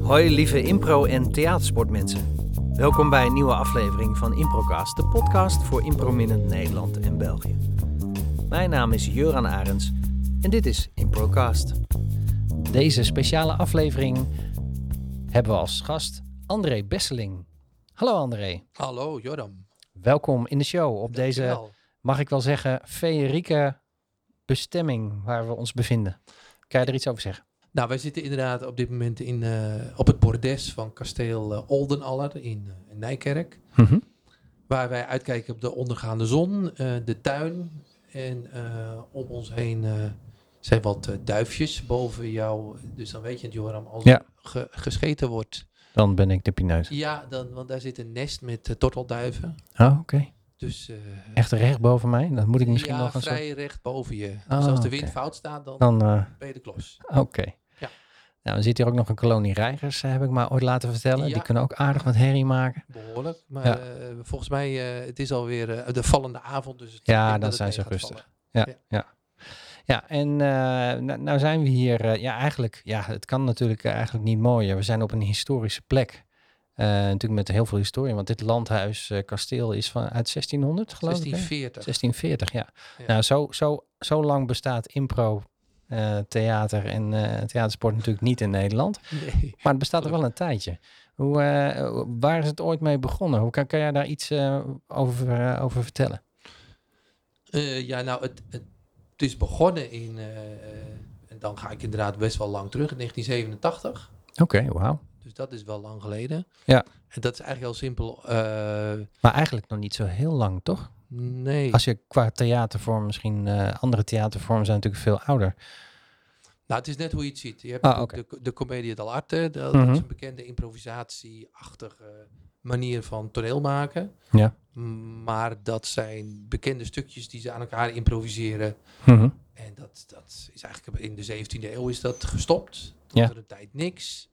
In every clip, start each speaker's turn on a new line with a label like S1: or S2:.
S1: Hoi lieve impro- en theatersportmensen. Welkom bij een nieuwe aflevering van Improcast, de podcast voor improminnend Nederland en België. Mijn naam is Juran Arends en dit is Improcast. Deze speciale aflevering hebben we als gast André Besseling. Hallo André,
S2: Hallo Joram.
S1: welkom in de show op deze,
S2: Dankjewel.
S1: mag ik wel zeggen, feerieke bestemming waar we ons bevinden. Kan je er iets over zeggen?
S2: Nou, wij zitten inderdaad op dit moment in, eh, op het bordes van kasteel eh, Oldenaller in, eh, in Nijkerk.
S1: Mhm.
S2: Waar wij uitkijken op de ondergaande zon, eh, de tuin. En eh, om ons heen eh, zijn wat eh, duifjes boven jou. Dus dan weet je het, Joram, als
S1: Ja.
S2: er ge- gescheten wordt.
S1: Dan ben ik de pineut.
S2: Ja, dan, want daar zit een nest met eh, tortelduiven.
S1: Oh, oké.
S2: Dus eh,
S1: Echt recht boven mij? Dan moet ik misschien
S2: ja,
S1: nog een soort...
S2: vrij recht boven je.
S1: Ah,
S2: dus als de
S1: oké.
S2: wind fout staat, dan
S1: Dan, eh,
S2: ben je de klos.
S1: oké.
S2: Oh. Ja.
S1: Nou, dan zit hier ook nog een kolonie reigers, eh, heb ik maar ooit laten vertellen.
S2: Ja.
S1: Die kunnen ook aardig wat herrie maken.
S2: Behoorlijk, maar
S1: Ja.
S2: eh, volgens mij eh het is alweer eh, de vallende avond. Dus het-
S1: Ja, dan
S2: ik denk dat het
S1: zijn
S2: mee
S1: ze
S2: gaat
S1: rustig.
S2: vallen.
S1: Ja, ja.
S2: Ja.
S1: ja. en eh, nou, nou zijn we hier, eh, ja eigenlijk, ja het kan natuurlijk eh, eigenlijk niet mooier. We zijn op een historische plek. Eh, natuurlijk met heel veel historie, want dit landhuis, eh, kasteel is van, uit 1600 geloof ik. hè?
S2: 1640.
S1: 1640, ja.
S2: Ja.
S1: Nou, zo, zo, zo lang bestaat impro, eh, theater en eh, theatersport natuurlijk niet in Nederland.
S2: Nee.
S1: Maar het bestaat er wel een tijdje. Hoe, eh, waar is het ooit mee begonnen? Hoe kan, kan jij daar iets eh, over, eh, over vertellen?
S2: Eh, ja, nou, het, het, het is begonnen in, eh, eh, en dan ga ik inderdaad best wel lang terug, in 1987.
S1: Oké, wauw.
S2: Dus dat is wel lang geleden.
S1: Ja.
S2: En dat is eigenlijk heel simpel. eh,
S1: Maar eigenlijk nog niet zo heel lang, toch?
S2: nee.
S1: Als je qua theatervorm, misschien eh, andere theatervormen zijn natuurlijk veel ouder.
S2: Nou, het is net hoe je het ziet. Je hebt
S1: Ah,
S2: natuurlijk de, de comedie dell'arte. Dat,
S1: Mhm.
S2: is een bekende improvisatieachtige manier van toneel maken.
S1: Ja.
S2: M- Maar dat zijn bekende stukjes die ze aan elkaar improviseren.
S1: Mhm,
S2: En dat, dat is eigenlijk in de 17e eeuw is dat gestopt.
S1: Ja.
S2: Toen was er een tijd niks.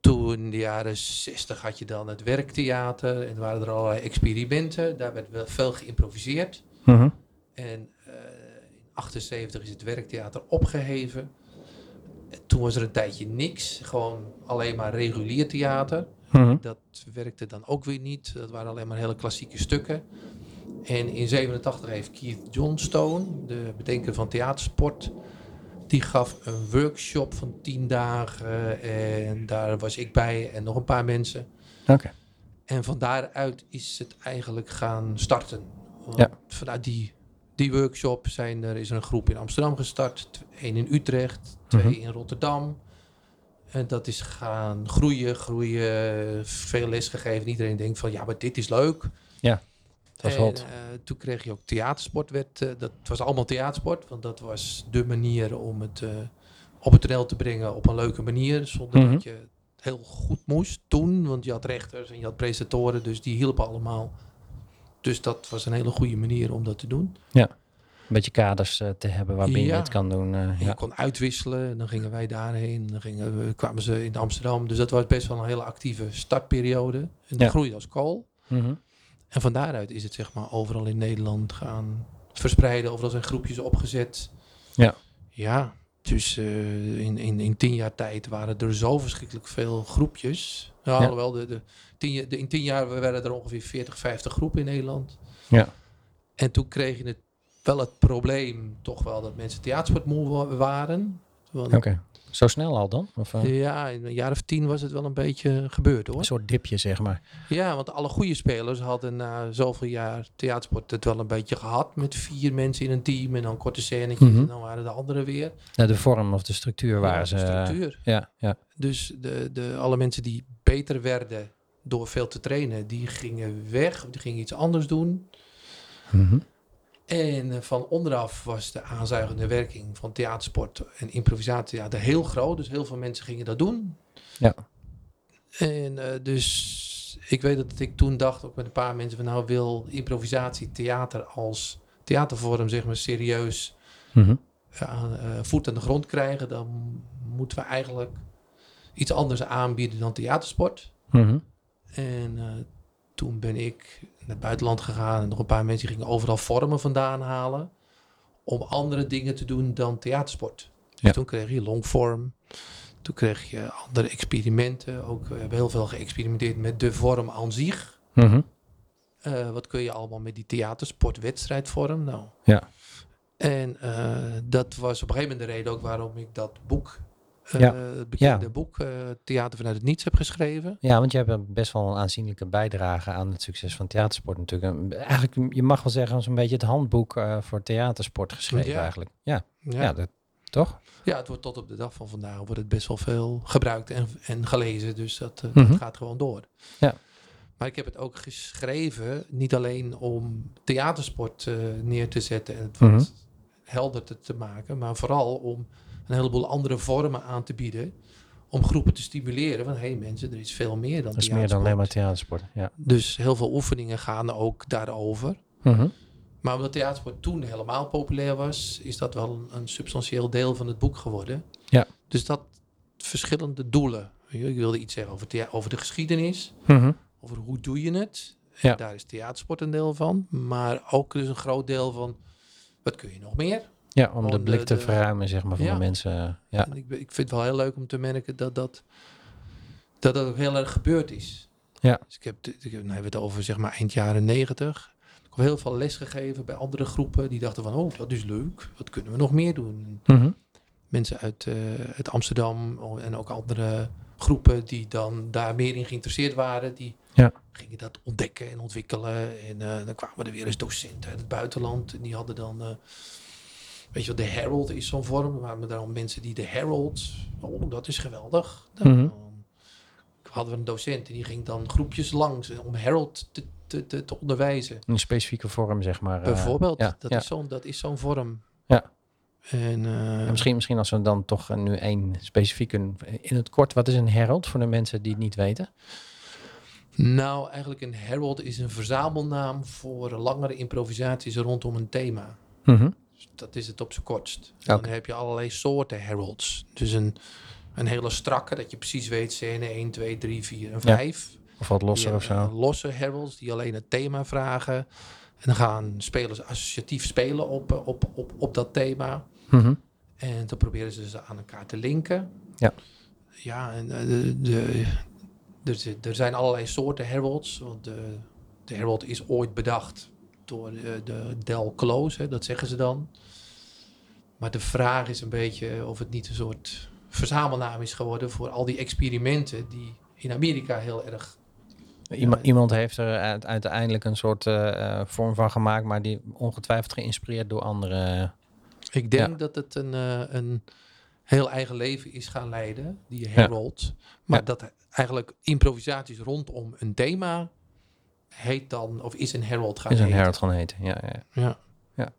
S2: Toen in de jaren 60 had je dan het werktheater en waren er allerlei experimenten. Daar werd wel veel geïmproviseerd.
S1: Mhm.
S2: En eh, in 78 is het werktheater opgeheven. En toen was er een tijdje niks, gewoon alleen maar regulier theater.
S1: Mhm.
S2: Dat werkte dan ook weer niet. Dat waren alleen maar hele klassieke stukken. En in 87 heeft Keith Johnstone, de bedenker van theatersport, die gaf een workshop van 10 dagen. En daar was ik bij en nog een paar mensen.
S1: Oké.
S2: En van daaruit is het eigenlijk gaan starten. Want
S1: Ja.
S2: Vanuit die, die workshop zijn er, is er een groep in Amsterdam gestart. tw- één in Utrecht, twee
S1: Mhm.
S2: in Rotterdam. En dat is gaan groeien, groeien. Veel lesgegeven. En Iedereen denkt van, ja, maar dit is leuk.
S1: Ja, het was
S2: En,
S1: hot.
S2: eh, toen kreeg je ook theatersport. Werd, eh, dat was allemaal theatersport. Want dat was de manier om het eh, op het toneel te brengen op een leuke manier. Zonder
S1: Mhm.
S2: dat je het heel goed moest toen. Want je had rechters en je had presentatoren. Dus die hielpen allemaal. Dus dat was een hele goede manier om dat te doen.
S1: Een beetje kaders eh, te hebben waarbinnen je
S2: Ja.
S1: het kan doen. eh,
S2: En je
S1: ja.
S2: kon uitwisselen. En dan gingen wij daarheen. En dan gingen we, kwamen ze in Amsterdam. Dus dat was best wel een hele actieve startperiode. En dat
S1: Ja.
S2: groeide als kool.
S1: Mhm.
S2: En van daaruit is het zeg maar overal in Nederland gaan verspreiden. Overal zijn groepjes opgezet.
S1: Ja.
S2: Ja, dus eh, in, in, in tien jaar tijd waren er zo verschrikkelijk veel groepjes. Nou,
S1: Ja.
S2: Alhoewel, de, de, tien, jaar- de, in tien jaar werden er ongeveer 40, 50 groepen in Nederland.
S1: Ja.
S2: En toen kreeg je het, wel het probleem toch wel dat mensen theatersportmoe wa- waren. Want,
S1: Oké. Zo snel al dan? Of, eh,
S2: Ja, in een jaar of tien was het wel een beetje gebeurd hoor.
S1: Een soort dipje, zeg maar.
S2: Ja, want alle goede spelers hadden na zoveel jaar theatersport het wel een beetje gehad. Met vier mensen in een team en dan korte scènetjes.
S1: Mhm.
S2: En dan waren de anderen weer.
S1: Nou, de vorm of de structuur
S2: Ja,
S1: waren ze. eh,
S2: structuur.
S1: Ja, ja.
S2: Dus de, de, alle mensen die beter werden door veel te trainen, die gingen weg. of Die gingen iets anders doen.
S1: Mhm.
S2: En eh, van onderaf was de aanzuigende werking van theatersport en improvisatietheater heel groot. Dus heel veel mensen gingen dat doen.
S1: Ja.
S2: En eh, dus ik weet dat ik toen dacht, ook met een paar mensen, van nou wil improvisatietheater als theatervorm zeg maar serieus
S1: Mhm.
S2: eh, aan, eh, voet aan de grond krijgen. Dan moeten we eigenlijk iets anders aanbieden dan theatersport.
S1: Mhm.
S2: En eh, toen ben ik naar het buitenland gegaan en nog een paar mensen die gingen overal vormen vandaan halen om andere dingen te doen dan theatersport. Dus
S1: Ja.
S2: toen kreeg je longform, Toen kreeg je andere experimenten. Ook, eh, we hebben heel veel geëxperimenteerd met de vorm aan zich.
S1: Mhm.
S2: Eh, wat kun je allemaal met die theatersportwedstrijdvorm? Nou.
S1: Ja.
S2: En eh, dat was op een gegeven moment de reden ook waarom ik dat boek, eh,
S1: Ja.
S2: het bekende boek, eh, Theater vanuit het Niets, heb geschreven.
S1: Ja, want jij hebt een- best wel een aanzienlijke bijdrage aan het succes van theatersport natuurlijk. En Eigenlijk, je mag wel zeggen, zo'n beetje het handboek eh, voor theatersport geschreven
S2: Ja.
S1: eigenlijk. Ja, ja.
S2: Ja. Ja.
S1: dat, toch?
S2: het wordt tot op de dag van vandaag wordt het best wel veel gebruikt en, en gelezen. Dus dat, eh,
S1: Mhm.
S2: dat gaat gewoon door.
S1: Ja.
S2: Maar ik heb het ook geschreven, niet alleen om theatersport eh, neer te zetten en het wat
S1: Mhm.
S2: helderder te maken, maar vooral om een heleboel andere vormen aan te bieden. Om groepen te stimuleren van hé hey mensen, er is veel meer dan
S1: Dat is meer dan alleen maar theatersport. Ja.
S2: Dus heel veel oefeningen gaan ook daarover.
S1: Mhm.
S2: Maar omdat theatersport toen helemaal populair was, is dat wel een, een substantieel deel van het boek geworden.
S1: Ja.
S2: Dus dat verschillende doelen. Weet je, Ik wilde iets zeggen over, thea- over de geschiedenis,
S1: Mhm.
S2: over hoe doe je het.
S1: Ja.
S2: En daar is theatersport een deel van. Maar ook dus een groot deel van wat kun je nog meer?
S1: Ja, om de
S2: Om de-
S1: blik te
S2: de-
S1: verruimen, zeg maar, van de
S2: Ja.
S1: mensen. eh, Ja.
S2: En Ik, be- ik vind het wel heel leuk om te merken dat dat, dat, dat ook heel erg gebeurd is.
S1: Ja.
S2: Dus ik heb, t- ik heb, dan hebben we het over zeg maar eind jaren negentig. Ik heb heel veel les gegeven bij andere groepen die dachten van, oh, dat is leuk. Wat kunnen we nog meer doen?
S1: Mhm.
S2: Mensen uit, eh, uit Amsterdam o- en ook andere groepen die dan daar meer in geïnteresseerd waren, die
S1: Ja.
S2: gingen dat ontdekken en ontwikkelen. En eh, dan kwamen er weer eens docenten uit het buitenland en die hadden dan, eh, weet je wat, de Herald is zo'n vorm. Er waren dan mensen die de Herald, oh dat is geweldig. Nou,
S1: Mhm.
S2: dan hadden we een docent en die ging dan groepjes langs eh, om Herald te, te, te, te onderwijzen.
S1: Een specifieke vorm, zeg maar. eh,
S2: Bijvoorbeeld,
S1: ja,
S2: dat,
S1: ja.
S2: Is zo'n, dat is zo'n vorm.
S1: Ja.
S2: En, eh,
S1: En misschien, misschien als we dan toch eh, nu één specifiek een- in het kort, wat is een herald voor de mensen die het niet weten?
S2: Nou, eigenlijk een herald is een verzamelnaam voor langere improvisaties rondom een thema.
S1: Mhm.
S2: Dus dat is het op zijn kortst. En
S1: Oké.
S2: Dan heb je allerlei soorten heralds. Dus een, een hele strakke, dat je precies weet, scène 1, 2, 3, 4 en 5.
S1: Of wat losser
S2: Die
S1: of zo.
S2: hebben, eh, Losse heralds die alleen het thema vragen. En dan gaan spelers associatief spelen op, eh, op, op, op dat thema.
S1: Mhm.
S2: En dan proberen ze ze aan elkaar te linken.
S1: Ja.
S2: Ja, en eh, de, de, er, zi- er zijn allerlei soorten heralds. Want de, de herald is ooit bedacht door eh, de Del Close, hè, dat zeggen ze dan. Maar de vraag is een beetje of het niet een soort verzamelnaam is geworden voor al die experimenten die in Amerika heel erg.
S1: Iema- Iemand heeft er uit- uiteindelijk een soort eh, eh, vorm van gemaakt, maar die ongetwijfeld geïnspireerd door anderen.
S2: Ik denk dat het een, eh, een heel eigen leven is gaan leiden, die herald. Maar
S1: Ja.
S2: dat eigenlijk improvisaties rondom een thema heet dan, of is een herald gaan
S1: is een
S2: heten.
S1: herald gaan heten. Ja, ja.
S2: Ja.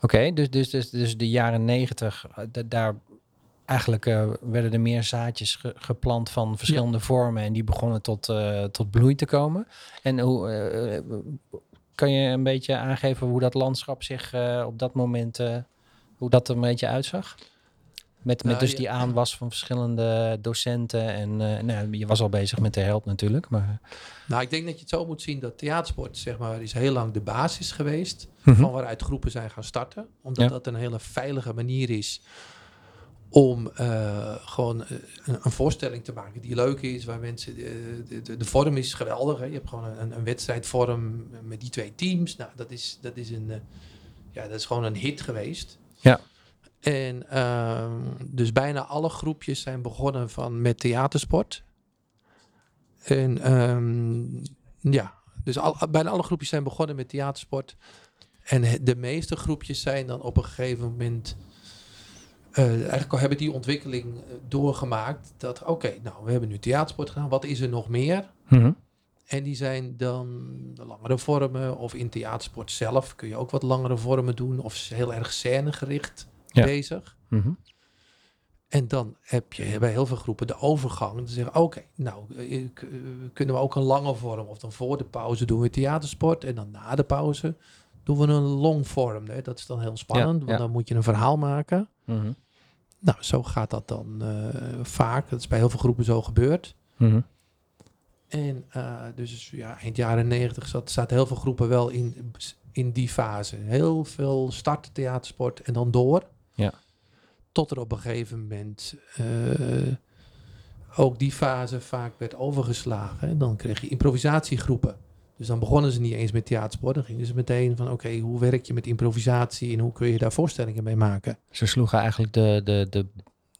S1: Oké, dus, dus, dus, dus de jaren negentig, eh, da- daar eigenlijk eh, werden er meer zaadjes ge- geplant van verschillende vormen en die begonnen tot, eh, tot bloei te komen. En hoe eh, eh, kan je een beetje aangeven hoe dat landschap zich eh, op dat moment, eh, hoe dat er een beetje uitzag? Met, met
S2: Nou,
S1: dus
S2: ja.
S1: die aanwas van verschillende docenten en eh, nou, je was al bezig met de help natuurlijk, maar
S2: Nou, ik denk dat je het zo moet zien dat theatersport, zeg maar, is heel lang de basis geweest van waaruit groepen zijn gaan starten. Omdat
S1: Mhm. Ja.
S2: dat een hele veilige manier is om eh, gewoon eh, een, een voorstelling te maken die leuk is, waar mensen... eh, de, de, de vorm is geweldig, hè. Je hebt gewoon een, een wedstrijdvorm met die twee teams. Nou, dat is, dat is, een, eh, ja, dat is gewoon een hit geweest.
S1: Ja.
S2: En ehm, dus bijna alle groepjes zijn begonnen van, met theatersport. En ehm, ja, dus al, bijna alle groepjes zijn begonnen met theatersport. En he- de meeste groepjes zijn dan op een gegeven moment. eh, eigenlijk al hebben die ontwikkeling eh, doorgemaakt. Dat oké, nou we hebben nu theatersport gedaan. Wat is er nog meer?
S1: Mhm.
S2: En die zijn dan de langere vormen. Of in theatersport zelf kun je ook wat langere vormen doen. Of s- heel erg scènegericht
S1: Ja.
S2: bezig.
S1: Mhm.
S2: En dan heb je bij heel veel groepen de overgang. Dan zeggen oké, nou eh, k- eh, kunnen we ook een lange vorm. Of dan voor de pauze doen we theatersport. En dan na de pauze doen we een long vorm. Hè. Dat is dan heel spannend, want
S1: ja.
S2: dan moet je een verhaal maken.
S1: Mhm.
S2: Nou, zo gaat dat dan eh, vaak. Dat is bij heel veel groepen zo gebeurd.
S1: Mhm.
S2: En eh, dus ja, eind jaren negentig zat, zaten heel veel groepen wel in, in die fase. Heel veel starten theatersport en dan door.
S1: Ja.
S2: Tot er op een gegeven moment eh, ook die fase vaak werd overgeslagen. En dan kreeg je improvisatiegroepen. Dus dan begonnen ze niet eens met theatersport. Dan gingen ze meteen van oké, hoe werk je met improvisatie en hoe kun je daar voorstellingen mee maken?
S1: Ze sloegen eigenlijk de, de, de,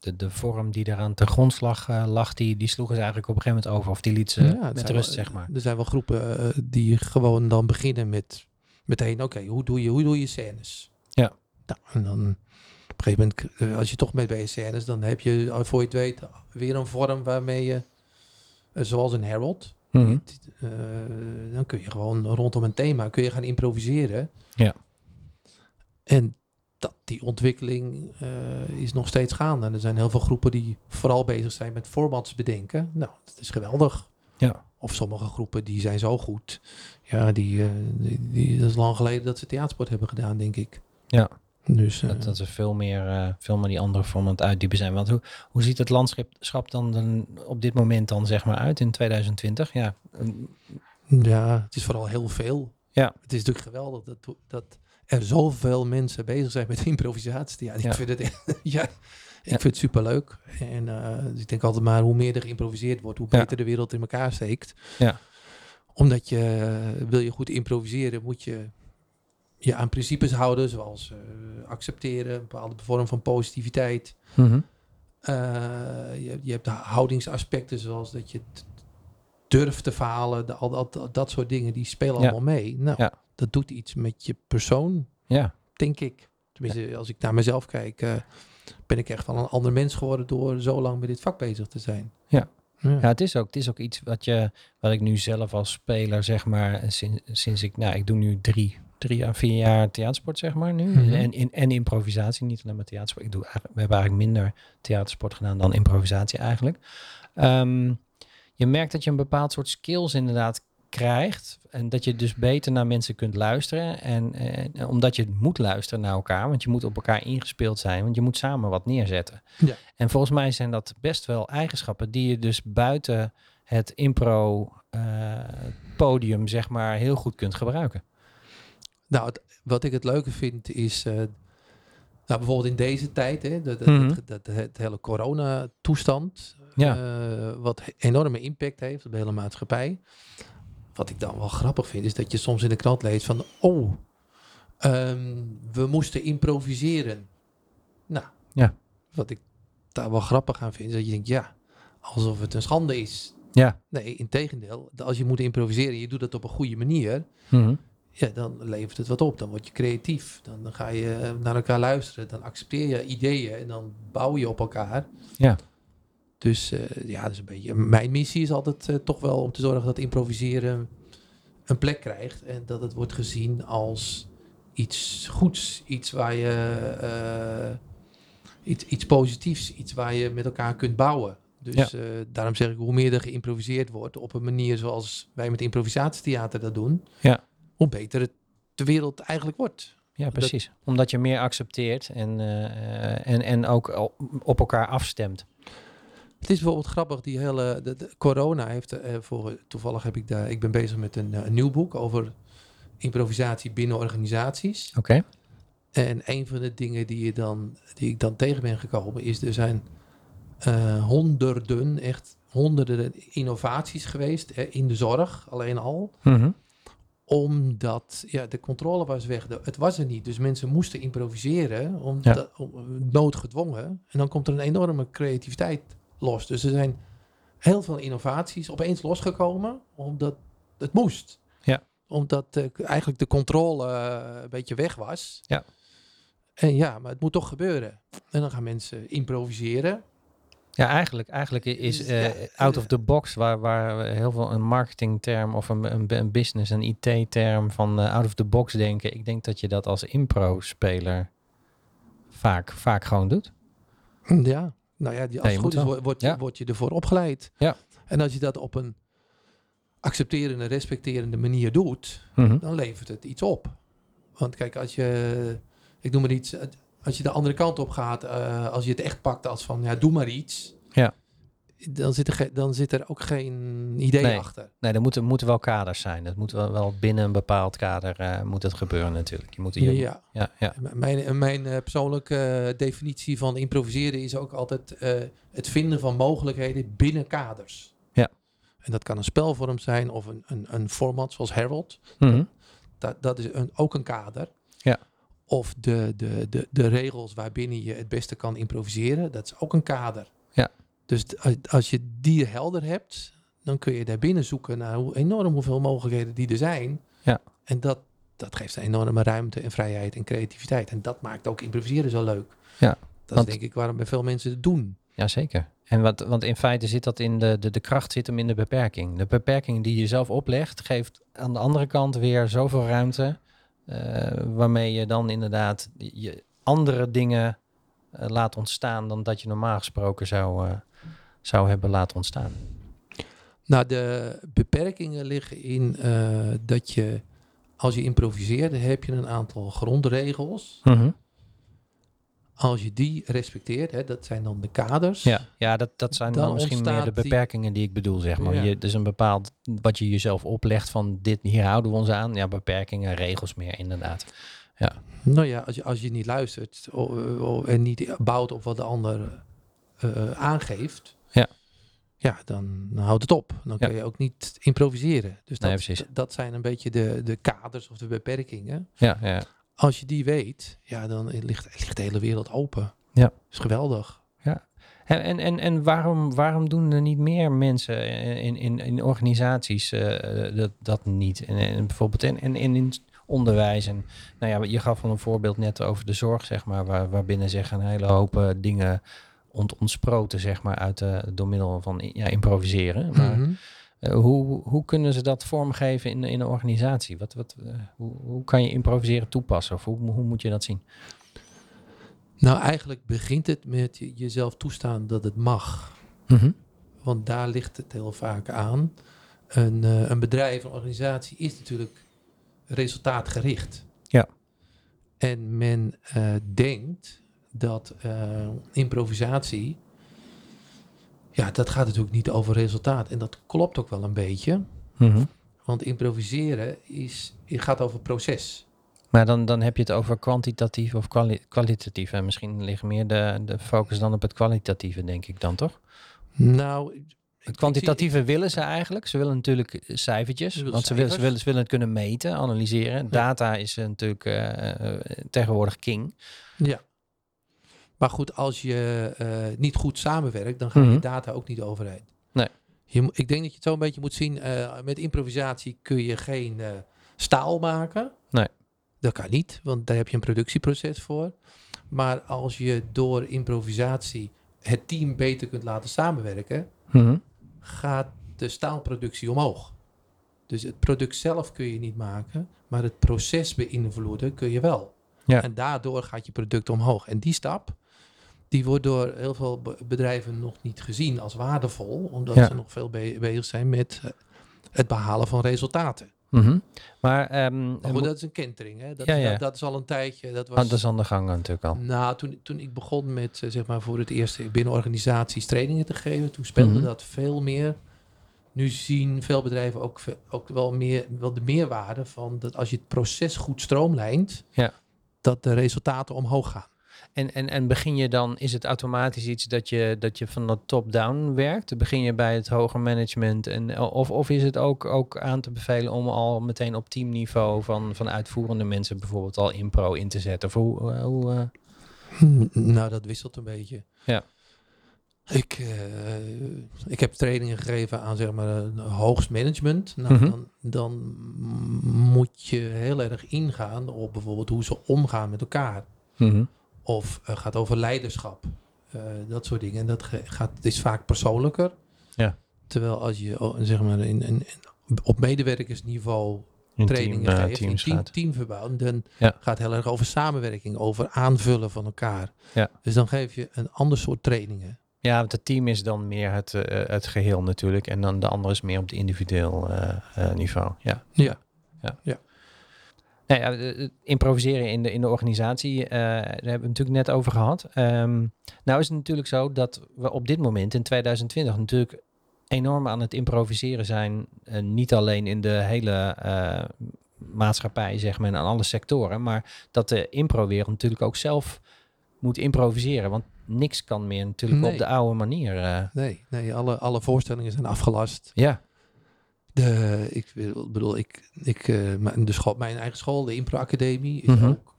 S1: de, de vorm die daaraan ten grondslag eh, lag, die, die sloegen ze eigenlijk op een gegeven moment over. Of die liet ze
S2: Ja, het
S1: eh, met
S2: zijn
S1: rust,
S2: wel-
S1: zeg maar.
S2: Er zijn wel groepen eh, die gewoon dan beginnen met meteen, oké, hoe, doe je, hoe doe je scènes?
S1: Ja.
S2: Nou, en dan op een gegeven moment, eh, als je toch mee bezig bent scènes, dan heb je, eh, voor je het weet, weer een vorm waarmee je, eh, zoals een herald,
S1: Mhm.
S2: eh, dan kun je gewoon rondom een thema kun je gaan improviseren.
S1: Ja.
S2: En dat, die ontwikkeling eh, is nog steeds gaande. En er zijn heel veel groepen die vooral bezig zijn met formats bedenken. Nou, dat is geweldig.
S1: Ja.
S2: Of sommige groepen die zijn zo goed. Ja, die, eh, die, die- dat is lang geleden dat ze theatersport hebben gedaan, denk ik.
S1: Ja.
S2: Dus, eh,
S1: Dat, dat ze veel meer, eh, veel meer die andere vormen aan het uitdiepen zijn. Want hoe, hoe ziet het landschap schap dan, dan op dit moment dan zeg maar uit in 2020? Ja, een-
S2: Ja, het is vooral heel veel.
S1: Ja.
S2: Het is natuurlijk geweldig dat, dat er zoveel mensen bezig zijn met improvisatie. Ja, ik
S1: Ja.
S2: vind het echt- ja, ik
S1: Ja.
S2: vind het superleuk. En eh, dus ik denk altijd maar hoe meer er geïmproviseerd wordt, hoe
S1: Ja.
S2: beter de wereld in elkaar steekt.
S1: Ja.
S2: Omdat je, eh, wil je goed improviseren, moet je je aan principes houden, zoals eh, accepteren, een bepaalde vorm van positiviteit. Mhm. Eh, je, je hebt de houdingsaspecten zoals dat je t- durft te falen. De, al, dat dat soort dingen, die spelen
S1: Ja.
S2: allemaal mee. Nou,
S1: Ja.
S2: dat doet iets met je persoon,
S1: ja.
S2: denk ik. Tenminste, als ik naar mezelf kijk, eh, ben ik echt wel een ander mens geworden door zo lang met dit vak bezig te zijn.
S1: Ja.
S2: Ja.
S1: ja het, is ook, het is ook iets wat, je, wat ik nu zelf als speler zeg maar, sinds, sinds ik, nou ik doe nu drie, drie à vier jaar theatersport zeg maar nu.
S2: Mhm.
S1: en, in, en improvisatie, niet alleen maar theatersport. Ik doe, eigenlijk- we hebben eigenlijk minder theatersport gedaan dan improvisatie eigenlijk. Ehm, je merkt dat je een bepaald soort skills inderdaad krijgt. En dat je dus beter naar mensen kunt luisteren. En, eh, omdat je moet luisteren naar elkaar. Want je moet op elkaar ingespeeld zijn. Want je moet samen wat neerzetten.
S2: Ja.
S1: En volgens mij zijn dat best wel eigenschappen die je dus buiten het impro eh, podium, zeg maar, heel goed kunt gebruiken.
S2: Nou, het- wat ik het leuke vind is, eh, nou bijvoorbeeld in deze tijd, hè, dat, dat,
S1: Mhm.
S2: dat- dat- het hele corona-toestand,
S1: Ja.
S2: eh, wat he- enorme impact heeft op de hele maatschappij. Wat ik dan wel grappig vind, is dat je soms in de krant leest van, oh, ehm, we moesten improviseren. Nou,
S1: Ja.
S2: wat ik daar wel grappig aan vind, is dat je denkt, ja, alsof het een schande is.
S1: Ja.
S2: Nee, integendeel, als je moet improviseren en je doet dat op een goede manier,
S1: Mhm.
S2: ja, dan levert het wat op. Dan word je creatief. Dan, dan ga je eh, naar elkaar luisteren. Dan accepteer je ideeën en dan bouw je op elkaar.
S1: Ja.
S2: Dus eh, ja, dat is een beetje. Mijn missie is altijd eh, toch wel om te zorgen dat improviseren een plek krijgt. En dat het wordt gezien als iets goeds. Iets waar je. eh, iets, iets positiefs. Iets waar je met elkaar kunt bouwen. Dus eh, daarom zeg ik, hoe meer er geïmproviseerd wordt op een manier zoals wij met improvisatietheater dat doen, hoe beter het de wereld eigenlijk wordt.
S1: Ja,
S2: Dat-
S1: precies. Omdat je meer accepteert en, eh, eh, en, en ook al- op elkaar afstemt.
S2: Het is bijvoorbeeld grappig, die hele de, de- corona heeft eh, voor toevallig heb ik daar, ik ben bezig met een, eh, nieuw boek over improvisatie binnen organisaties.
S1: Oké.
S2: En een van de dingen die, je dan, die ik dan tegen ben gekomen is, er zijn eh, honderden, echt honderden innovaties geweest eh, in de zorg alleen al. Omdat ja, de controle was weg. De- het was er niet. Dus mensen moesten improviseren. Om,
S1: Ja.
S2: dat- om- eh, noodgedwongen. En dan komt er een enorme creativiteit los. Dus er zijn heel veel innovaties opeens losgekomen. Omdat het moest.
S1: Ja.
S2: Omdat eh, k- eigenlijk de controle eh, een beetje weg was.
S1: Ja.
S2: En ja, maar het moet toch gebeuren. En dan gaan mensen improviseren.
S1: Ja, eigenlijk, eigenlijk is
S2: Dus,
S1: eh,
S2: ja,
S1: out of the box, waar, waar we heel veel een marketingterm of een, een, een business, een IT-term van eh, out of the box denken. Ik denk dat je dat als impro-speler vaak, vaak gewoon doet.
S2: Ja, nou ja, die, als
S1: je
S2: het
S1: moet
S2: goed is,
S1: wel.
S2: word, word,
S1: Ja.
S2: word je ervoor opgeleid.
S1: Ja.
S2: En als je dat op een accepterende, respecterende manier doet,
S1: Mhm.
S2: dan levert het iets op. Want kijk, als je, ik noem maar iets, als je de andere kant op gaat, eh, als je het echt pakt als van, ja, doe maar iets.
S1: Ja.
S2: dan zit er, ge- dan zit er ook geen idee
S1: Nee.
S2: achter.
S1: Nee, er moeten, moeten wel kaders zijn. Het moet wel, wel binnen een bepaald kader eh, moet het gebeuren natuurlijk. Je moet hier, ja.
S2: Ja.
S1: Ja,
S2: M- Mijn, en mijn eh, persoonlijke eh, definitie van improviseren is ook altijd eh, het vinden van mogelijkheden binnen kaders.
S1: Ja.
S2: En dat kan een spelvorm zijn of een, een, een format zoals Herald.
S1: Mhm.
S2: Dat, dat is een, ook een kader.
S1: Ja.
S2: Of de, de, de, de regels waarbinnen je het beste kan improviseren, dat is ook een kader.
S1: Ja.
S2: Dus t- als- als je die helder hebt, dan kun je daarbinnen zoeken naar hoe enorm hoeveel mogelijkheden die er zijn.
S1: Ja.
S2: En dat, dat geeft een enorme ruimte en vrijheid en creativiteit. En dat maakt ook improviseren zo leuk.
S1: Ja,
S2: Dat
S1: want-
S2: is denk ik waarom bij veel mensen het doen.
S1: Jazeker. En wat, want in feite zit dat in de, de, de kracht zit hem in de beperking. De beperking die je zelf oplegt, geeft aan de andere kant weer zoveel ruimte. eh, waarmee je dan inderdaad je andere dingen eh, laat ontstaan dan dat je normaal gesproken zou, eh, zou hebben laten ontstaan.
S2: Nou, de beperkingen liggen in eh, dat je, als je improviseert, dan heb je een aantal grondregels. als je die respecteert, hè, dat zijn dan de kaders.
S1: Ja, ja dat, dat zijn dan,
S2: Dan
S1: misschien meer de
S2: ontstaat die-
S1: beperkingen die ik bedoel, zeg maar.
S2: Ja.
S1: Je, dus een bepaald, wat je jezelf oplegt van dit, hier houden we ons aan. Ja, beperkingen, regels meer, inderdaad.
S2: Nou ja, als je, als je niet luistert eh, o- o- oh, en niet bouwt op wat de ander eh, aangeeft,
S1: Ja.
S2: ja, dan houdt het op. Dan
S1: Ja.
S2: kun je ook niet improviseren. Dus dat,
S1: Nee, precies.
S2: d- dat zijn een beetje de, de kaders of de beperkingen.
S1: Ja, ja.
S2: Als je die weet, ja, dan ligt, ligt de hele wereld open.
S1: Ja.
S2: is geweldig.
S1: En, en, en, en waarom, waarom doen er niet meer mensen in, in, in organisaties eh, dat, dat niet? En, en bijvoorbeeld en, en, en in het onderwijs. En, nou ja, je gaf al een voorbeeld net over de zorg, zeg maar, waar, waarbinnen zich een hele hoop eh, dingen ont, ontsproten, zeg maar, uit, eh, door middel van ja, improviseren. Maar
S2: Mhm.
S1: eh, hoe, hoe kunnen ze dat vormgeven in, in een organisatie? Wat, wat, eh, hoe, hoe kan je improviseren toepassen? Of hoe, hoe moet je dat zien?
S2: Nou, eigenlijk begint het met je- jezelf toestaan dat het mag. Want daar ligt het heel vaak aan. Een, eh, een bedrijf, een organisatie is natuurlijk resultaatgericht.
S1: Ja.
S2: En men eh, denkt dat eh, improvisatie, ja, dat gaat natuurlijk niet over resultaat. En dat klopt ook wel een beetje.
S1: Mhm.
S2: Want improviseren is, het gaat over proces.
S1: Maar dan, dan heb je het over kwantitatief of kwali- kwalitatief. En misschien ligt meer de, de focus dan op het kwalitatieve, denk ik dan toch?
S2: Nou, ik-
S1: Het kwantitatieve willen ze eigenlijk. Ze willen natuurlijk eh, cijfertjes.
S2: willen
S1: want ze, willen, ze,
S2: cijfers.
S1: willen, ze willen het kunnen meten, analyseren. Data is eh, natuurlijk eh, eh, tegenwoordig king.
S2: ja. Maar goed, als je eh, niet goed samenwerkt, dan gaan
S1: Mhm.
S2: je data ook niet overheid.
S1: Nee.
S2: Je, mo- ik denk dat je het zo een beetje moet zien. eh, met improvisatie kun je geen eh, staal maken.
S1: Nee.
S2: Dat kan niet, want daar heb je een productieproces voor. Maar als je door improvisatie het team beter kunt laten samenwerken, gaat de staalproductie omhoog. Dus het product zelf kun je niet maken, maar het proces beïnvloeden kun je wel.
S1: Ja.
S2: En daardoor gaat je product omhoog. En die stap, die wordt door heel veel be- bedrijven nog niet gezien als waardevol, omdat
S1: Ja.
S2: ze nog veel be- bezig zijn met eh, het behalen van resultaten.
S1: Mhm. Maar ehm,
S2: Maar goed, dat is een kentering. Hè? Dat,
S1: Ja, ja.
S2: Dat, dat is al een tijdje. Dat was,
S1: ah, dat is aan de gang natuurlijk al.
S2: nou, toen, toen ik begon met eh, zeg maar voor het eerst binnen organisaties trainingen te geven, toen speelde
S1: Mhm.
S2: dat veel meer. Nu zien veel bedrijven ook, ve- ook wel, meer, wel de meerwaarde van dat als je het proces goed stroomlijnt,
S1: Ja.
S2: dat de resultaten omhoog gaan.
S1: En, en, en begin je dan, is het automatisch iets dat je, dat je van de top-down werkt? Begin je bij het hoger management? En, of, of is het ook, ook aan te bevelen om al meteen op teamniveau van, van uitvoerende mensen bijvoorbeeld al impro in te zetten? Of hoe, eh, hoe, eh,
S2: Hmm, Nou, dat wisselt een beetje.
S1: Ja.
S2: Ik, eh, ik heb trainingen gegeven aan zeg maar een hoogst management. Nou,
S1: Mhm.
S2: dan, dan moet je heel erg ingaan op bijvoorbeeld hoe ze omgaan met elkaar.
S1: Mhm.
S2: Of eh, gaat over leiderschap. Eh, dat soort dingen. En dat ge- gaat, is vaak persoonlijker.
S1: Ja.
S2: Terwijl als je oh, zeg maar, in, in, in- op medewerkersniveau
S1: in
S2: trainingen
S1: team, eh,
S2: geeft, in
S1: teams
S2: team,
S1: gaat?
S2: teamverbouw, dan
S1: Ja.
S2: gaat het heel erg over samenwerking, over aanvullen van elkaar.
S1: Ja.
S2: Dus dan geef je een ander soort trainingen.
S1: Ja, want het team is dan meer het, eh, het geheel natuurlijk. En dan de andere is meer op het individueel eh, eh, niveau. Ja.
S2: Ja.
S1: ja.
S2: Ja.
S1: Nou ja, eh, eh, improviseren in de, in de organisatie, eh, daar hebben we het natuurlijk net over gehad. Ehm, nou is het natuurlijk zo dat we op dit moment in 2020 natuurlijk enorm aan het improviseren zijn. eh, niet alleen in de hele eh, maatschappij, zeg maar, en aan alle sectoren. Maar dat de improwereld natuurlijk ook zelf moet improviseren. Want niks kan meer natuurlijk
S2: Nee.
S1: op de oude manier. eh.
S2: Nee, nee alle, alle voorstellingen zijn afgelast.
S1: ja,
S2: De, ik wil- bedoel, ik, ik, eh, mijn- de school, mijn eigen school, de Impro Academie, is
S1: Mhm.
S2: ook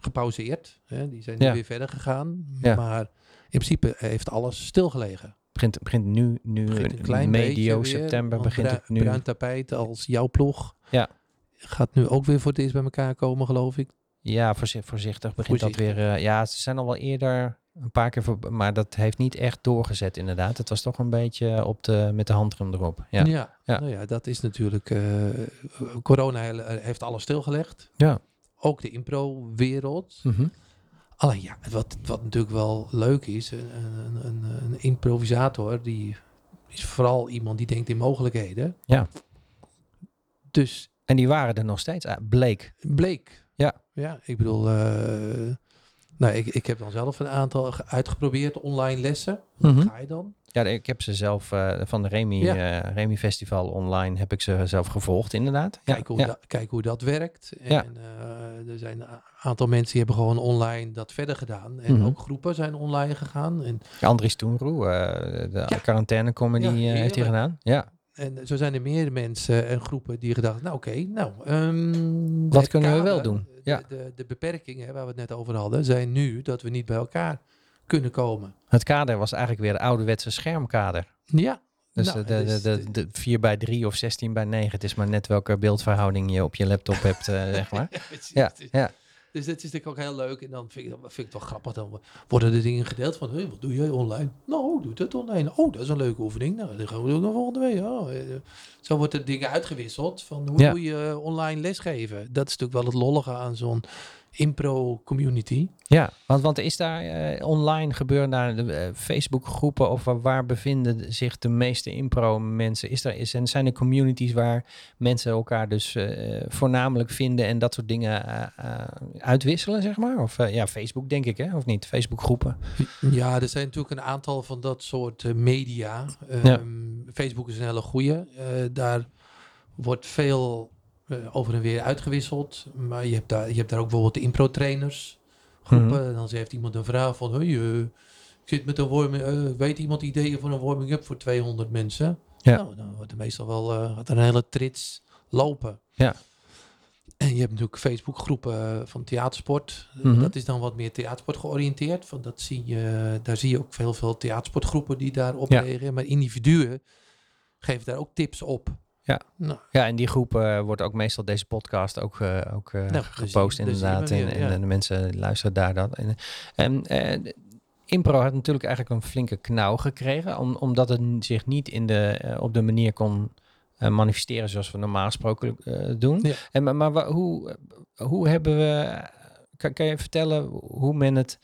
S2: gepauzeerd. Hè? Die zijn nu
S1: Ja.
S2: weer verder gegaan.
S1: Ja.
S2: Maar in principe heeft alles stilgelegen.
S1: begint, begint nu, nu
S2: Begint een klein beetje
S1: medio
S2: weer,
S1: september
S2: want
S1: begint
S2: brui-
S1: het nu.
S2: Bruin tapijt als jouw ploeg.
S1: Ja.
S2: Gaat nu ook weer voor het eerst bij elkaar komen, geloof ik.
S1: Ja, voorzichtig, voorzichtig begint dat
S2: Voorzichtig.
S1: weer. eh, ja, ze zijn al wel eerder een paar keer, voor, maar dat heeft niet echt doorgezet inderdaad. Het was toch een beetje op de, met de handrem erop. Ja,
S2: ja.
S1: Ja.
S2: Nou ja, dat is natuurlijk... eh, corona hele- heeft alles stilgelegd.
S1: Ja.
S2: Ook de impro-wereld.
S1: Mhm.
S2: Alleen ja, wat, wat natuurlijk wel leuk is, een, een, een, een improvisator, die is vooral iemand die denkt in mogelijkheden.
S1: Ja.
S2: Dus
S1: En die waren er nog steeds, ah, bleek.
S2: bleek.
S1: Ja.
S2: Ja, ik bedoel, eh, nou, ik, ik heb dan zelf een aantal ge- uitgeprobeerd online lessen.
S1: Mhm.
S2: Ga je dan?
S1: Ja, ik heb ze zelf eh, van de Remy,
S2: Ja.
S1: eh, Remy Festival online heb ik ze zelf gevolgd inderdaad. Ja,
S2: Kijken hoe,
S1: ja.
S2: da- kijken hoe dat werkt. En
S1: Ja.
S2: eh, er zijn een a- aantal mensen die hebben gewoon online dat verder gedaan. En
S1: Mhm.
S2: ook groepen zijn online gegaan. En
S1: Andries Toenroe, eh, de
S2: Ja.
S1: quarantaine comedy
S2: Ja,
S1: eh, heeft hij
S2: heerlijk.
S1: gedaan. Ja.
S2: En zo zijn er meer mensen en groepen die gedacht, nou oké, nou... ehm,
S1: Wat
S2: het
S1: kunnen we wel doen?
S2: De,
S1: Ja.
S2: de, de beperkingen hè, waar we het net over hadden, zijn nu dat we niet bij elkaar kunnen komen.
S1: Het kader was eigenlijk weer de ouderwetse schermkader.
S2: Ja.
S1: Dus
S2: Nou,
S1: de, de,
S2: dus
S1: de, de 4 bij 3 of 16 bij 9. Het is maar net welke beeldverhouding je op je laptop hebt, eh, zeg maar.
S2: precies.
S1: Ja,
S2: Dus-
S1: ja.
S2: Dus dat is natuurlijk ook heel leuk. En dan vind ik, dat vind ik het wel grappig. Dan worden de dingen gedeeld van, hey, wat doe jij online? Nou, doe dat online. Oh, dat is een leuke oefening. Nou, dat gaan we doen volgende week. Ja. Eh, Zo wordt er dingen uitgewisseld van hoe
S1: Ja.
S2: doe je eh, online lesgeven. Dat is natuurlijk wel het lollige aan zo'n impro-community.
S1: ja want, want is daar eh, online gebeuren daar eh, Facebookgroepen of waar, waar bevinden zich de meeste impro-mensen? Is er, is, en zijn er communities waar mensen elkaar dus eh, voornamelijk vinden en dat soort dingen eh, eh, uitwisselen, zeg maar? Of eh, ja, Facebook denk ik, hè? Of niet? Facebookgroepen.
S2: Ja, er zijn natuurlijk een aantal van dat soort eh, media. Ehm,
S1: Ja.
S2: Facebook is een hele goede. daar wordt veel eh, over en weer uitgewisseld. Maar je hebt daar, je hebt daar ook bijvoorbeeld de impro-trainers groepen.
S1: Mhm.
S2: En dan heeft iemand een vraag van... Hey, eh, ik zit met een warming... eh, weet iemand ideeën voor een warming-up voor 200 mensen?
S1: Ja.
S2: Nou, dan wordt er meestal wel eh, gaat er een hele trits lopen.
S1: Ja.
S2: En je hebt natuurlijk Facebookgroepen eh, van theatersport.
S1: Mhm.
S2: Dat is dan wat meer theatersport georiënteerd. Want dat zie je, daar zie je ook veel, veel theatersportgroepen die daar oplegen. Maar individuen geven daar ook tips op.
S1: Ja.
S2: Nou,
S1: Ja, en die groep eh, wordt ook meestal deze podcast ook, eh, ook eh,
S2: Nou,
S1: gepost
S2: dus- dus
S1: inderdaad.
S2: hier ben
S1: en,
S2: je, ja.
S1: en de mensen luisteren daar dan. En, en, eh, de- Impro had natuurlijk eigenlijk een flinke knauw gekregen, om, omdat het n- zich niet in de, eh, op de manier kon eh, manifesteren zoals we normaal gesproken eh, doen.
S2: Ja.
S1: En, maar maar wa- hoe, hoe hebben we, kan, kan je vertellen hoe men het,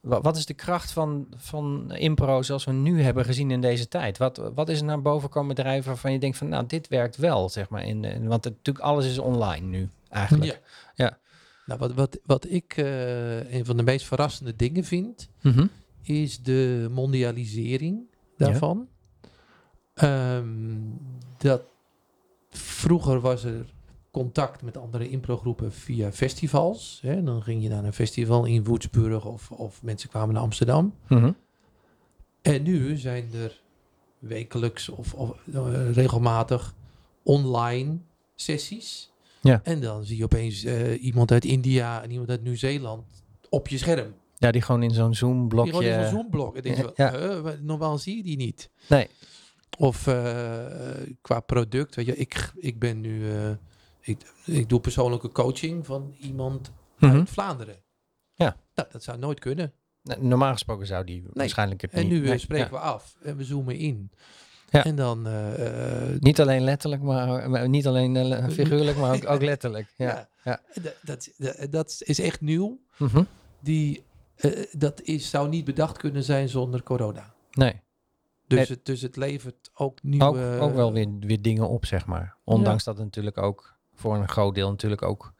S1: wa- wat is de kracht van, van impro zoals we nu hebben gezien in deze tijd? Wat, wat is er naar boven komen drijven waarvan je denkt van nou dit werkt wel, zeg maar. In, in- want het, natuurlijk alles is online nu eigenlijk.
S2: ja. Nou, wat, wat, wat ik eh, een van de meest verrassende dingen vind,
S1: Mhm.
S2: is de mondialisering daarvan. Ehm, dat vroeger was er contact met andere improgroepen via festivals. Hè? Dan ging je naar een festival in Woedsburg of, of mensen kwamen naar Amsterdam.
S1: Mhm.
S2: En nu zijn er wekelijks of, of, eh, regelmatig online sessies.
S1: Ja.
S2: En dan zie je opeens eh, iemand uit India en iemand uit Nieuw-Zeeland op je scherm.
S1: Ja, die gewoon in zo'n
S2: Die gewoon in zo'n
S1: Zoom-blokje.
S2: zoomblok. En denk je wel,
S1: Ja.
S2: eh, wa- normaal zie je die niet.
S1: Nee.
S2: Of eh, eh, qua product. Weet je, ik, ik ben nu... eh, ik, ik doe persoonlijke coaching van iemand
S1: Mhm.
S2: uit Vlaanderen.
S1: Ja.
S2: Nou, dat zou nooit kunnen.
S1: Nou, Normaal gesproken zou die waarschijnlijk het
S2: En
S1: niet...
S2: nu eh,
S1: nee,
S2: spreken
S1: ja.
S2: we af en we zoomen in.
S1: Ja.
S2: En dan... eh, eh,
S1: Niet alleen letterlijk, maar maar niet alleen eh, le- figuurlijk, maar ook, ook letterlijk. Ja.
S2: ja.
S1: ja.
S2: Dat, dat, dat- dat is echt nieuw.
S1: Mhm.
S2: Die, eh, dat is, zou niet bedacht kunnen zijn zonder corona.
S1: Nee,
S2: Dus,
S1: Nee.
S2: het, dus het levert ook nieuwe...
S1: ook, ook wel weer, weer dingen op, zeg maar. Ondanks dat het natuurlijk ook voor een groot deel natuurlijk ook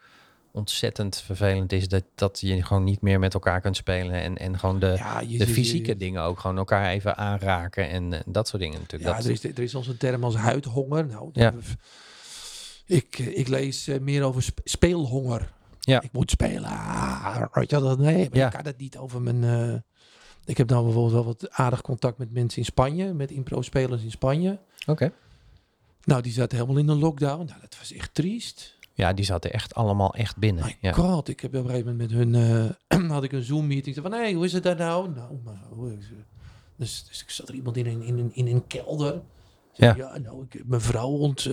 S1: ontzettend vervelend is dat, dat je gewoon niet meer met elkaar kunt spelen. En, en gewoon de,
S2: ja, je-
S1: de
S2: je-
S1: fysieke
S2: je-
S1: dingen ook. Gewoon elkaar even aanraken en, eh, dat soort dingen natuurlijk.
S2: Ja, dus-
S1: dat,
S2: er is, er is als een term als huidhonger. Nou,
S1: Ja.
S2: ik, ik lees eh, meer over sp- speelhonger.
S1: Ja.
S2: Ik moet spelen. Ah, weet je dat? Nee, maar
S1: Ja.
S2: ik kan dat niet over mijn... eh, ik heb nou bijvoorbeeld wel wat aardig contact met mensen in Spanje. Met impro-spelers in Spanje.
S1: Oké.
S2: Nou, die zaten helemaal in een lockdown. Nou, dat was echt triest.
S1: Ja, die zaten echt allemaal echt binnen.
S2: My
S1: Ja.
S2: god, ik heb op een gegeven moment met hun eh, had ik een Zoom meeting. Van hé, hey, hoe is het daar nou? Nou, maar hoe is het? dus, dus ik zat er iemand in een, in een, in een kelder. Ik zei, ja, nou, ik, heb mijn vrouw ont, eh,